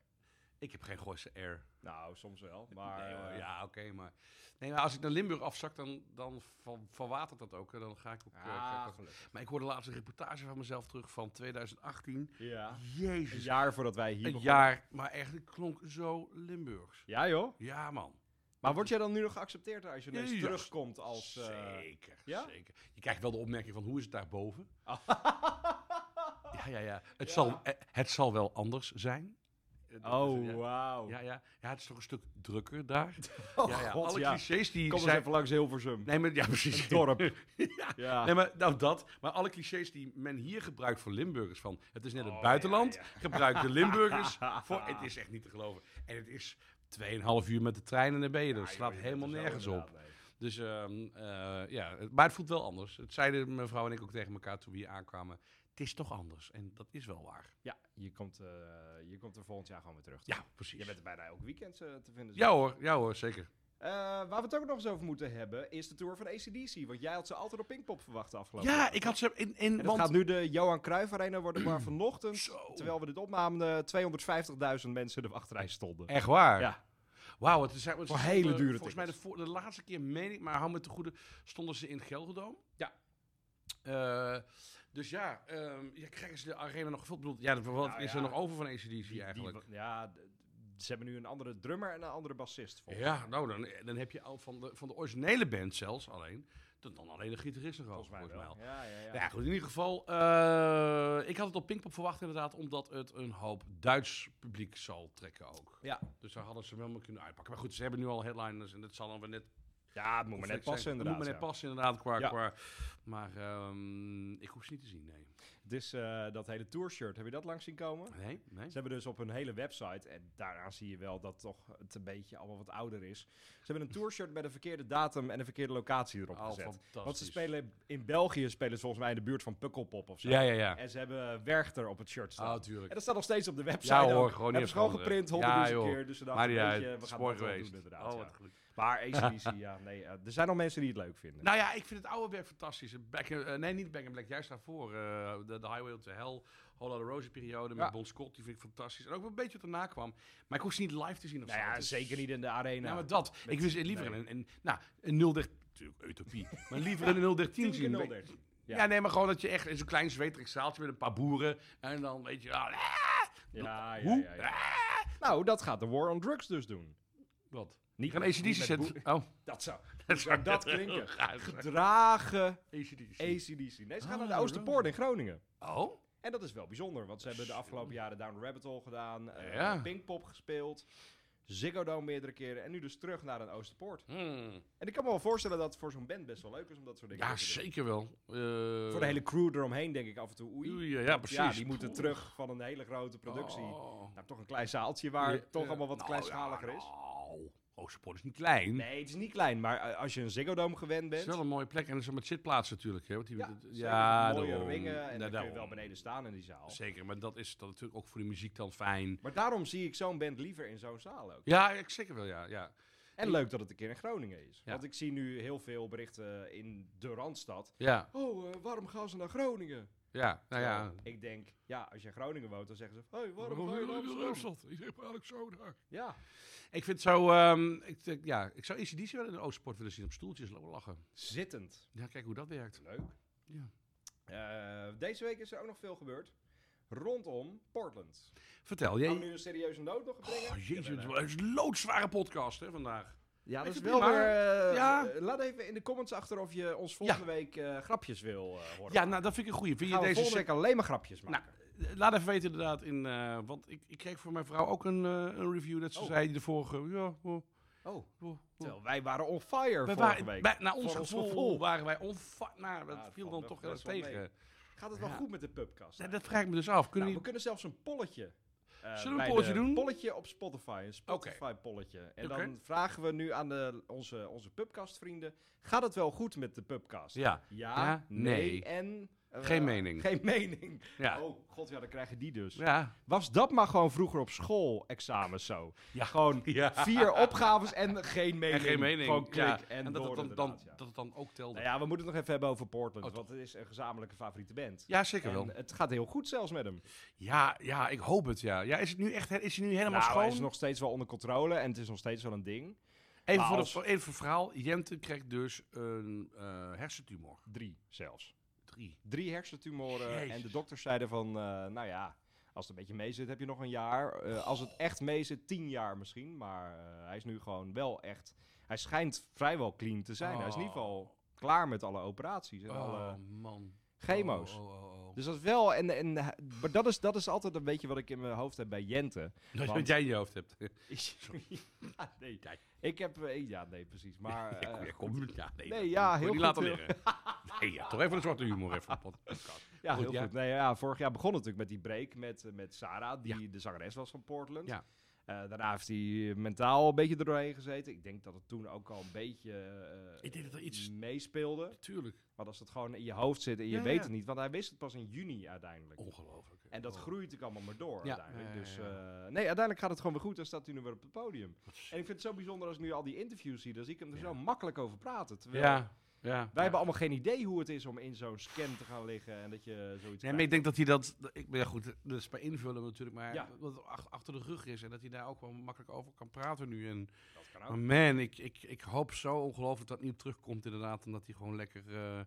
[SPEAKER 3] ik heb geen Gooise air.
[SPEAKER 2] Nou, soms wel, maar...
[SPEAKER 3] Nee, hoor,
[SPEAKER 2] eh,
[SPEAKER 3] ja, oké, maar... Nee, maar als ik naar Limburg afzak, dan, dan ver- verwatert dat ook. hè. Dan ga ik ook... eh, ga ik
[SPEAKER 2] Ah,
[SPEAKER 3] ook-
[SPEAKER 2] gelukkig.
[SPEAKER 3] maar ik hoorde laatst een reportage van mezelf terug van 2018.
[SPEAKER 2] Ja. Een
[SPEAKER 3] Jezus,
[SPEAKER 2] jaar voordat wij hier
[SPEAKER 3] een
[SPEAKER 2] begonnen.
[SPEAKER 3] jaar. Maar echt, het klonk zo Limburgs.
[SPEAKER 2] Ja, joh.
[SPEAKER 3] Ja, man.
[SPEAKER 2] Maar word jij dan nu nog geaccepteerd als je ineens
[SPEAKER 3] Ja.
[SPEAKER 2] terugkomt als... eh,
[SPEAKER 3] zeker,
[SPEAKER 2] ja?
[SPEAKER 3] zeker. Je krijgt wel de opmerking van, hoe is het daarboven? Ja, ja, ja. Het,
[SPEAKER 2] Ja.
[SPEAKER 3] Zal, eh, het zal wel anders zijn. Eh, dat is-
[SPEAKER 2] oh,
[SPEAKER 3] ja.
[SPEAKER 2] wauw.
[SPEAKER 3] Ja, ja. ja, het is toch een stuk drukker daar.
[SPEAKER 2] Oh,
[SPEAKER 3] ja, ja.
[SPEAKER 2] god,
[SPEAKER 3] Alle
[SPEAKER 2] ja.
[SPEAKER 3] clichés die
[SPEAKER 2] Kom eens
[SPEAKER 3] zijn...
[SPEAKER 2] even langs Hilversum.
[SPEAKER 3] Nee, maar, ja, precies.
[SPEAKER 2] Het dorp.
[SPEAKER 3] ja.
[SPEAKER 2] Ja.
[SPEAKER 3] Nee, maar nou dat. Maar alle clichés die men hier gebruikt voor Limburgers van... Het is net het
[SPEAKER 2] Oh,
[SPEAKER 3] buitenland.
[SPEAKER 2] ja,
[SPEAKER 3] Gebruiken Limburgers voor... Het is echt niet te geloven. En het is 2,5 uur met de trein en dan ben je dus er.
[SPEAKER 2] Ja,
[SPEAKER 3] Dat slaat
[SPEAKER 2] joh, je bent
[SPEAKER 3] helemaal
[SPEAKER 2] er zo
[SPEAKER 3] nergens op.
[SPEAKER 2] inderdaad, nee.
[SPEAKER 3] Dus ehm, eh, ja, het- maar het voelt wel anders. Het zeiden mevrouw en ik ook tegen elkaar toen we hier aankwamen. Het is toch anders. En dat is wel waar.
[SPEAKER 2] Ja, je komt, eh, je komt er volgend jaar gewoon weer terug.
[SPEAKER 3] Ja, precies.
[SPEAKER 2] Je bent er bijna elk weekend eh, te vinden.
[SPEAKER 3] Ja hoor, ja hoor, zeker.
[SPEAKER 2] Eh, waar we het ook nog eens over moeten hebben, is de tour van ACDC. Want jij had ze altijd op Pinkpop verwacht de afgelopen
[SPEAKER 3] Ja,
[SPEAKER 2] jaar.
[SPEAKER 3] ik had ze in... in
[SPEAKER 2] En dat
[SPEAKER 3] want,
[SPEAKER 2] gaat nu de Johan Cruijff Arena worden, waar vanochtend,
[SPEAKER 3] Zo.
[SPEAKER 2] terwijl we dit opnamen, eh, 250.000 mensen in de wachtrij stonden.
[SPEAKER 3] Echt waar?
[SPEAKER 2] Ja.
[SPEAKER 3] Wauw, het is... Het
[SPEAKER 2] Voor
[SPEAKER 3] is-
[SPEAKER 2] hele
[SPEAKER 3] eh,
[SPEAKER 2] dure
[SPEAKER 3] Volgens mij de,
[SPEAKER 2] tickets.
[SPEAKER 3] voor- de laatste keer, meen ik, maar hou me te goede, stonden ze in het Gelderdoom.
[SPEAKER 2] Ja.
[SPEAKER 3] Eh, dus ja, ehm, ja, krijgen ze de arena nog gevuld? Ik bedoel, Ja, wat
[SPEAKER 2] Nou
[SPEAKER 3] is
[SPEAKER 2] ja,
[SPEAKER 3] er nog over van ACDC
[SPEAKER 2] Die-
[SPEAKER 3] eigenlijk?
[SPEAKER 2] die- ja, d- d- ze hebben nu een andere drummer en een andere bassist. Volgens,
[SPEAKER 3] Ja, nou, dan, dan heb je al van de, van de originele band zelfs alleen, dan, dan alleen de gitarist nog over,
[SPEAKER 2] volgens mij
[SPEAKER 3] volgens mij
[SPEAKER 2] wel.
[SPEAKER 3] al.
[SPEAKER 2] Ja, ja, ja.
[SPEAKER 3] Nou Ja, goed, in ieder geval, eh, ik had het op Pinkpop verwacht inderdaad, omdat het een hoop Duits publiek zal trekken ook.
[SPEAKER 2] Ja.
[SPEAKER 3] Dus daar hadden ze hem helemaal kunnen uitpakken. Maar goed, ze hebben nu al headliners en dat zal dan weer net...
[SPEAKER 2] Ja, het moet maar net passen
[SPEAKER 3] zijn.
[SPEAKER 2] inderdaad.
[SPEAKER 3] Moet maar net
[SPEAKER 2] ja.
[SPEAKER 3] passen inderdaad, qua...
[SPEAKER 2] Ja.
[SPEAKER 3] qua maar ehm, ik hoef ze niet te zien, nee.
[SPEAKER 2] Dus eh, dat hele tourshirt, heb je dat langs zien komen?
[SPEAKER 3] Nee, nee.
[SPEAKER 2] Ze hebben dus op hun hele website, en daaraan zie je wel dat toch het een beetje allemaal wat ouder is. Ze hebben een tourshirt met een verkeerde datum en een verkeerde locatie erop
[SPEAKER 3] Al
[SPEAKER 2] gezet.
[SPEAKER 3] Oh, fantastisch.
[SPEAKER 2] Want ze spelen in België spelen ze volgens mij in de buurt van Pukkelpop of zo.
[SPEAKER 3] Ja, ja, ja.
[SPEAKER 2] En ze hebben Werchter op het shirt staan.
[SPEAKER 3] Ah, tuurlijk.
[SPEAKER 2] en dat staat nog steeds op de website.
[SPEAKER 3] Ja hoor,
[SPEAKER 2] ook.
[SPEAKER 3] gewoon
[SPEAKER 2] Hebben ze
[SPEAKER 3] niet
[SPEAKER 2] gewoon geprint
[SPEAKER 3] veranderen. Ja,
[SPEAKER 2] honderdduizend
[SPEAKER 3] joh.
[SPEAKER 2] keer. Dus ze
[SPEAKER 3] Maar
[SPEAKER 2] dachten,
[SPEAKER 3] niet
[SPEAKER 2] weet je, we
[SPEAKER 3] uit, het
[SPEAKER 2] gaan
[SPEAKER 3] is mooi
[SPEAKER 2] dat wel doen
[SPEAKER 3] geweest.
[SPEAKER 2] inderdaad.
[SPEAKER 3] Oh,
[SPEAKER 2] ja.
[SPEAKER 3] wat goed.
[SPEAKER 2] Maar ACDC, ja, nee, eh, er zijn al mensen die het leuk vinden.
[SPEAKER 3] Nou ja, ik vind het oude werk fantastisch. Back in- eh, nee, niet Back in Black, juist daarvoor. eh, de, de Highway to Hell, Whole Lotta Rosie periode met
[SPEAKER 2] Ja.
[SPEAKER 3] Bon Scott, die vind ik fantastisch. En ook wel een beetje wat erna kwam. Maar ik hoef ze niet live te zien of
[SPEAKER 2] nou
[SPEAKER 3] zo.
[SPEAKER 2] ja,
[SPEAKER 3] Het is-
[SPEAKER 2] zeker niet in de arena.
[SPEAKER 3] Nou, maar dat.
[SPEAKER 2] Met-
[SPEAKER 3] ik wist liever
[SPEAKER 2] nee.
[SPEAKER 3] een, een, nou, een 013... Natuurlijk, utopie. maar liever een 013
[SPEAKER 2] Tien keer
[SPEAKER 3] zien.
[SPEAKER 2] 013. Ja.
[SPEAKER 3] Ja. nee, maar gewoon dat je echt in zo'n klein zweterig zaaltje met een paar boeren. En dan weet je, ah,
[SPEAKER 2] Ja, ja,
[SPEAKER 3] hoe? Ah.
[SPEAKER 2] ja, ja. Nou, dat gaat de War on Drugs dus doen.
[SPEAKER 3] Wat?
[SPEAKER 2] Niet
[SPEAKER 3] Ik ga een
[SPEAKER 2] met-
[SPEAKER 3] ACDC
[SPEAKER 2] niet met boe-
[SPEAKER 3] zetten. Oh,
[SPEAKER 2] Dat zou,
[SPEAKER 3] dat
[SPEAKER 2] zou dat klinken. Gedragen ACDC. Nee, ze gaan
[SPEAKER 3] Ah,
[SPEAKER 2] naar de Oosterpoort in Groningen.
[SPEAKER 3] Oh?
[SPEAKER 2] En dat is wel bijzonder, want ze hebben de afgelopen jaren Down the Rabbit Hole gedaan, eh
[SPEAKER 3] Ja.
[SPEAKER 2] Pinkpop gespeeld, Ziggo Dome meerdere keren en nu dus terug naar een Oosterpoort.
[SPEAKER 3] Hmm.
[SPEAKER 2] En ik kan me wel voorstellen dat het voor zo'n band best wel leuk is om dat soort dingen
[SPEAKER 3] Ja,
[SPEAKER 2] te doen.
[SPEAKER 3] zeker wel. Eh,
[SPEAKER 2] Voor de hele crew eromheen denk ik af en toe oei.
[SPEAKER 3] oei, ja, ja, precies.
[SPEAKER 2] ja, die moeten
[SPEAKER 3] Poeh.
[SPEAKER 2] terug van een hele grote productie
[SPEAKER 3] Oh.
[SPEAKER 2] naar toch een klein zaaltje waar
[SPEAKER 3] Ja,
[SPEAKER 2] het toch
[SPEAKER 3] eh,
[SPEAKER 2] allemaal wat
[SPEAKER 3] nou,
[SPEAKER 2] kleinschaliger
[SPEAKER 3] ja,
[SPEAKER 2] is.
[SPEAKER 3] Nou, Oosterpoort is niet klein.
[SPEAKER 2] Nee, het is niet klein, maar eh, als je een Ziggo Dome gewend
[SPEAKER 3] Het is
[SPEAKER 2] bent,
[SPEAKER 3] wel een mooie plek en zo met zitplaatsen natuurlijk. Hè? Want die,
[SPEAKER 2] ja,
[SPEAKER 3] dat-
[SPEAKER 2] zeker met mooie
[SPEAKER 3] daarom.
[SPEAKER 2] ringen en
[SPEAKER 3] Ja,
[SPEAKER 2] dan kun je wel
[SPEAKER 3] daarom.
[SPEAKER 2] beneden staan in die zaal.
[SPEAKER 3] Zeker, maar dat is dan natuurlijk ook voor de muziek dan fijn.
[SPEAKER 2] Maar daarom zie ik zo'n band liever in zo'n zaal ook.
[SPEAKER 3] Ja, ik zeker wel, ja. ja.
[SPEAKER 2] En leuk dat het een keer in Groningen is.
[SPEAKER 3] Ja.
[SPEAKER 2] Want ik zie nu heel veel berichten in de Randstad.
[SPEAKER 3] Ja,
[SPEAKER 2] Oh, eh, waarom gaan ze naar Groningen?
[SPEAKER 3] ja, nou ja.
[SPEAKER 2] Terwijl Ik denk, ja, als je in Groningen woont, dan zeggen ze... hey, waarom ga je naar Amsterdam?
[SPEAKER 3] Ik zeg maar Alexander.
[SPEAKER 2] Ja,
[SPEAKER 3] Ik vind zo, ehm ik, denk, ja, ik zou ACDC wel in de Oostsport willen zien op stoeltjes lopen lachen.
[SPEAKER 2] zittend.
[SPEAKER 3] Ja, kijk hoe dat werkt.
[SPEAKER 2] Leuk.
[SPEAKER 3] Ja.
[SPEAKER 2] Eh, deze week is er ook nog veel gebeurd. Rondom Portland.
[SPEAKER 3] Vertel,
[SPEAKER 2] Kan ik
[SPEAKER 3] jij...
[SPEAKER 2] Nou, nu een serieuze noot nog brengen?
[SPEAKER 3] Oh, jezus,
[SPEAKER 2] Jawel, hè.
[SPEAKER 3] het is een loodzware podcast hè, vandaag.
[SPEAKER 2] Ja, dat is
[SPEAKER 3] Even
[SPEAKER 2] wel
[SPEAKER 3] prima.
[SPEAKER 2] weer... eh,
[SPEAKER 3] Ja.
[SPEAKER 2] eh, Laat even in de comments achter of je ons volgende
[SPEAKER 3] Ja.
[SPEAKER 2] week eh, grapjes wil eh, horen.
[SPEAKER 3] Ja, nou, dat vind ik een goeie. Vind je
[SPEAKER 2] Gaan we
[SPEAKER 3] deze
[SPEAKER 2] volgende week alleen maar grapjes maken.
[SPEAKER 3] Nou, Eh, Laat even weten inderdaad, in, eh, want ik, ik kreeg voor mijn vrouw ook een, eh, een review dat ze
[SPEAKER 2] Oh.
[SPEAKER 3] zei de vorige. Ja, oh,
[SPEAKER 2] Oh,
[SPEAKER 3] oh, oh.
[SPEAKER 2] terwijl wij waren on fire vorige
[SPEAKER 3] Wij waren-
[SPEAKER 2] week.
[SPEAKER 3] bij- naar ons
[SPEAKER 2] Voor ons
[SPEAKER 3] gevoel,
[SPEAKER 2] gevoel.
[SPEAKER 3] waren wij onva... Nou, dat
[SPEAKER 2] Ja, het
[SPEAKER 3] viel
[SPEAKER 2] valt
[SPEAKER 3] dan
[SPEAKER 2] wel
[SPEAKER 3] toch heel erg
[SPEAKER 2] best wel
[SPEAKER 3] tegen.
[SPEAKER 2] mee. Gaat het wel
[SPEAKER 3] Ja.
[SPEAKER 2] goed met de pubcast?
[SPEAKER 3] Nee, dat vraag ik me dus af. Kunnen
[SPEAKER 2] Nou, we
[SPEAKER 3] we...
[SPEAKER 2] kunnen zelfs een polletje. eh,
[SPEAKER 3] Zullen we een
[SPEAKER 2] bij
[SPEAKER 3] polletje
[SPEAKER 2] de-
[SPEAKER 3] doen?
[SPEAKER 2] polletje op Spotify. Een Spotify-polletje. En
[SPEAKER 3] Oké.
[SPEAKER 2] dan vragen we nu aan de, onze, onze pubcast-vrienden... Gaat het wel goed met de pubcast?
[SPEAKER 3] Ja.
[SPEAKER 2] Ja,
[SPEAKER 3] Ja,
[SPEAKER 2] nee,
[SPEAKER 3] nee.
[SPEAKER 2] en... eh,
[SPEAKER 3] Geen mening.
[SPEAKER 2] Geen mening.
[SPEAKER 3] Ja.
[SPEAKER 2] Oh, god, ja, dan krijgen die dus.
[SPEAKER 3] Ja.
[SPEAKER 2] Was dat maar gewoon vroeger op school examens zo?
[SPEAKER 3] Ja.
[SPEAKER 2] Gewoon
[SPEAKER 3] Ja.
[SPEAKER 2] vier opgaves en geen mening.
[SPEAKER 3] En geen mening.
[SPEAKER 2] Gewoon klik
[SPEAKER 3] ja.
[SPEAKER 2] en,
[SPEAKER 3] dat,
[SPEAKER 2] door
[SPEAKER 3] het dan, dan,
[SPEAKER 2] inderdaad, ja.
[SPEAKER 3] dat het dan ook telde.
[SPEAKER 2] Nou ja, we moeten het nog even hebben over Portland.
[SPEAKER 3] Oh,
[SPEAKER 2] want het is een gezamenlijke favoriete band.
[SPEAKER 3] Ja, zeker
[SPEAKER 2] En
[SPEAKER 3] wel.
[SPEAKER 2] het gaat heel goed zelfs met hem.
[SPEAKER 3] Ja, ja, ik hoop het, ja. ja is het nu echt is het nu helemaal
[SPEAKER 2] nou,
[SPEAKER 3] schoon?
[SPEAKER 2] hij is nog steeds wel onder controle en het is nog steeds wel een ding.
[SPEAKER 3] even,
[SPEAKER 2] maar
[SPEAKER 3] voor
[SPEAKER 2] als-
[SPEAKER 3] het, even voor het verhaal. Jente kreeg dus een eh, hersentumor.
[SPEAKER 2] Drie zelfs.
[SPEAKER 3] Drie.
[SPEAKER 2] Drie hersentumoren en de
[SPEAKER 3] Jezus.
[SPEAKER 2] dokters zeiden van, eh, nou ja, als het een beetje mee zit heb je nog een jaar. Eh, als het echt mee zit, tien jaar misschien. Maar eh, hij is nu gewoon wel echt, hij schijnt vrijwel clean te zijn. Hij is in ieder geval klaar met alle operaties en
[SPEAKER 3] Oh,
[SPEAKER 2] alle
[SPEAKER 3] man.
[SPEAKER 2] chemo's.
[SPEAKER 3] Oh, oh, oh, oh.
[SPEAKER 2] Dus dat is wel, en, en, maar dat is, dat is altijd een beetje wat ik in mijn hoofd heb bij Jente.
[SPEAKER 3] Dat
[SPEAKER 2] want-
[SPEAKER 3] wat jij in je hoofd hebt.
[SPEAKER 2] ja, nee. Ik heb, eh, ja, nee, precies. Maar,
[SPEAKER 3] ja, kom,
[SPEAKER 2] eh,
[SPEAKER 3] ja, kom, ja, nee,
[SPEAKER 2] nee,
[SPEAKER 3] dat
[SPEAKER 2] ja,
[SPEAKER 3] moet je
[SPEAKER 2] heel
[SPEAKER 3] niet
[SPEAKER 2] goed,
[SPEAKER 3] laten
[SPEAKER 2] heel-
[SPEAKER 3] liggen. Nee, ja, toch even een zwarte humor even op de podcast.
[SPEAKER 2] ja,
[SPEAKER 3] goed,
[SPEAKER 2] heel
[SPEAKER 3] ja.
[SPEAKER 2] goed. Nee, ja, vorig jaar begon het natuurlijk met die break met, eh, met Sarah, die de zangeres was van Portland.
[SPEAKER 3] Ja.
[SPEAKER 2] Eh, daarna heeft hij eh, mentaal een beetje er doorheen gezeten. Ik denk dat het toen ook al een beetje eh,
[SPEAKER 3] Ik denk dat er iets-
[SPEAKER 2] meespeelde.
[SPEAKER 3] Natuurlijk.
[SPEAKER 2] Maar als dat gewoon in je hoofd zit en je
[SPEAKER 3] Ja,
[SPEAKER 2] weet
[SPEAKER 3] ja.
[SPEAKER 2] het niet. Want hij wist het pas in juni uiteindelijk.
[SPEAKER 3] Ongelooflijk. hè.
[SPEAKER 2] En dat
[SPEAKER 3] Oh,
[SPEAKER 2] groeit natuurlijk allemaal maar door
[SPEAKER 3] Ja.
[SPEAKER 2] uiteindelijk.
[SPEAKER 3] Ja, ja,
[SPEAKER 2] Dus
[SPEAKER 3] ja.
[SPEAKER 2] eh, nee, uiteindelijk gaat het gewoon weer goed en staat hij nu weer op het podium.
[SPEAKER 3] wat
[SPEAKER 2] En ik vind het zo bijzonder als ik nu al die interviews zie, dan zie ik hem er
[SPEAKER 3] Ja.
[SPEAKER 2] zo makkelijk over praten. Terwijl
[SPEAKER 3] Ja, ja. Wij
[SPEAKER 2] Wij hebben allemaal geen idee hoe het is om in zo'n scan te gaan liggen en dat je zoiets.
[SPEAKER 3] Nee, maar ik denk dat hij dat... dat- Ik, ja goed, dat is bij invullen natuurlijk, maar
[SPEAKER 2] Ja.
[SPEAKER 3] wat er ach- achter de rug is. En dat hij daar ook wel makkelijk over kan praten nu. En,
[SPEAKER 2] krijgt. dat kan ook.
[SPEAKER 3] maar man, ik, ik, ik hoop zo ongelooflijk dat het niet terugkomt inderdaad. En dat hij gewoon lekker, eh,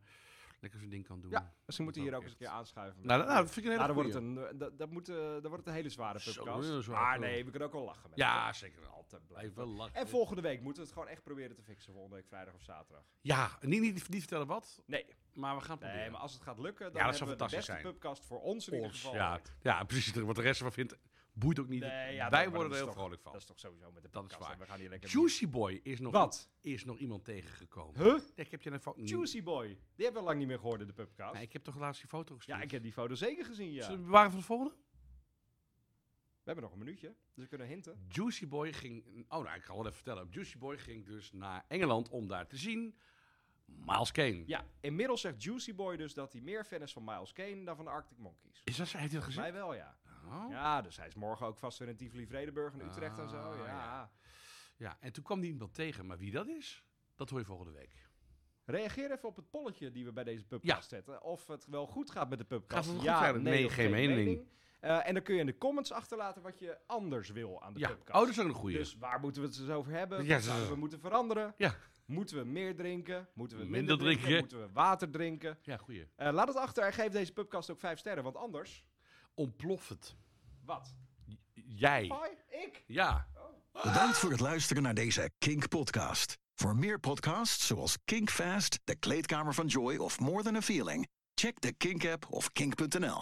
[SPEAKER 3] lekker zijn ding kan doen.
[SPEAKER 2] Ja, Misschien moeten we hier
[SPEAKER 3] dat
[SPEAKER 2] ook eens een
[SPEAKER 3] ook
[SPEAKER 2] keer
[SPEAKER 3] echt.
[SPEAKER 2] aanschuiven.
[SPEAKER 3] Nou, dat- nou, dat vind ik een
[SPEAKER 2] Nou,
[SPEAKER 3] hele
[SPEAKER 2] dan, wordt
[SPEAKER 3] goeie.
[SPEAKER 2] het een, eh, dat, dat moet, eh, dan wordt het een hele zware
[SPEAKER 3] Zo, heel
[SPEAKER 2] podcast.
[SPEAKER 3] zwaar.
[SPEAKER 2] Maar nee, we kunnen ook wel lachen met
[SPEAKER 3] Ja, zeker
[SPEAKER 2] elkaar.
[SPEAKER 3] wel.
[SPEAKER 2] Altijd blijven.
[SPEAKER 3] Blijf wel lachen.
[SPEAKER 2] En volgende week moeten we het gewoon echt proberen te fixen. Volgende week vrijdag of zaterdag.
[SPEAKER 3] Ja, niet, niet, niet vertellen wat,
[SPEAKER 2] Nee,
[SPEAKER 3] maar we gaan het proberen.
[SPEAKER 2] nee maar als het gaat lukken, dan
[SPEAKER 3] dat zou
[SPEAKER 2] hebben we de beste
[SPEAKER 3] fantastisch zijn.
[SPEAKER 2] podcast voor ons in ieder
[SPEAKER 3] Ons,
[SPEAKER 2] geval.
[SPEAKER 3] ja, ja, precies. Wat de rest ervan vindt, boeit ook niet.
[SPEAKER 2] Nee, ja, dat- maar
[SPEAKER 3] Wij
[SPEAKER 2] dat
[SPEAKER 3] worden
[SPEAKER 2] is
[SPEAKER 3] er heel
[SPEAKER 2] toch-
[SPEAKER 3] vrolijk
[SPEAKER 2] Dat
[SPEAKER 3] van.
[SPEAKER 2] is toch sowieso met de
[SPEAKER 3] Dat is
[SPEAKER 2] podcast.
[SPEAKER 3] waar.
[SPEAKER 2] en We gaan hier lekker...
[SPEAKER 3] Juicy Boy is nog,
[SPEAKER 2] Wat?
[SPEAKER 3] is nog iemand tegengekomen.
[SPEAKER 2] Huh?
[SPEAKER 3] Ja, ik heb je een foto.
[SPEAKER 2] Juicy Boy. Die hebben we lang niet meer gehoord in de podcast.
[SPEAKER 3] Nee, ik heb toch laatst die foto gestuurd.
[SPEAKER 2] ja, ik heb die foto zeker gezien, ja.
[SPEAKER 3] Zullen we bewaren voor de volgende?
[SPEAKER 2] We hebben nog een minuutje, dus we kunnen hinten.
[SPEAKER 3] Juicy Boy ging. Oh, nou, ik ga wel even vertellen. Juicy Boy ging dus naar Engeland om daar te zien. Miles Kane.
[SPEAKER 2] Ja, inmiddels zegt Juicy Boy dus dat hij meer fan is van Miles Kane dan van de Arctic Monkeys.
[SPEAKER 3] Is dat zo? Heeft hij dat gezien?
[SPEAKER 2] Mij wel, ja.
[SPEAKER 3] Oh. Ja.
[SPEAKER 2] Ja, dus hij is morgen ook vast weer in Tivoli Vredenburg en Utrecht en zo.
[SPEAKER 3] Ah,
[SPEAKER 2] Ja.
[SPEAKER 3] ja. en toen kwam die iemand tegen. Maar wie dat is, dat hoor je volgende week.
[SPEAKER 2] Reageer even op het polletje die we bij deze pubcast zetten. Of het wel goed gaat met de pubcast.
[SPEAKER 3] Gaat het
[SPEAKER 2] ja,
[SPEAKER 3] goed verder? Nee,
[SPEAKER 2] of
[SPEAKER 3] geen mening.
[SPEAKER 2] Eh, en dan kun je in de comments achterlaten wat je anders wil aan de
[SPEAKER 3] Ja. Oh,
[SPEAKER 2] pubcast.
[SPEAKER 3] dat is ook een goeie.
[SPEAKER 2] Dus waar moeten we het eens over hebben?
[SPEAKER 3] Ja,
[SPEAKER 2] Wat zouden
[SPEAKER 3] zo.
[SPEAKER 2] we moeten veranderen?
[SPEAKER 3] Ja.
[SPEAKER 2] Moeten we meer drinken? Moeten we minder,
[SPEAKER 3] Minder
[SPEAKER 2] drinken?
[SPEAKER 3] drinken.
[SPEAKER 2] Moeten we water drinken?
[SPEAKER 3] Ja, goeie.
[SPEAKER 2] Eh, laat het achter en geef deze pubcast ook vijf sterren, want anders...
[SPEAKER 3] Ontploft het.
[SPEAKER 2] Wat?
[SPEAKER 3] J- Jij.
[SPEAKER 2] Hoi, ik?
[SPEAKER 3] Ja.
[SPEAKER 4] Bedankt voor het luisteren naar deze Kink podcast. Voor meer podcasts zoals Kink Fast, De Kleedkamer van Joy of More Than a Feeling, check de Kink app of kink.nl.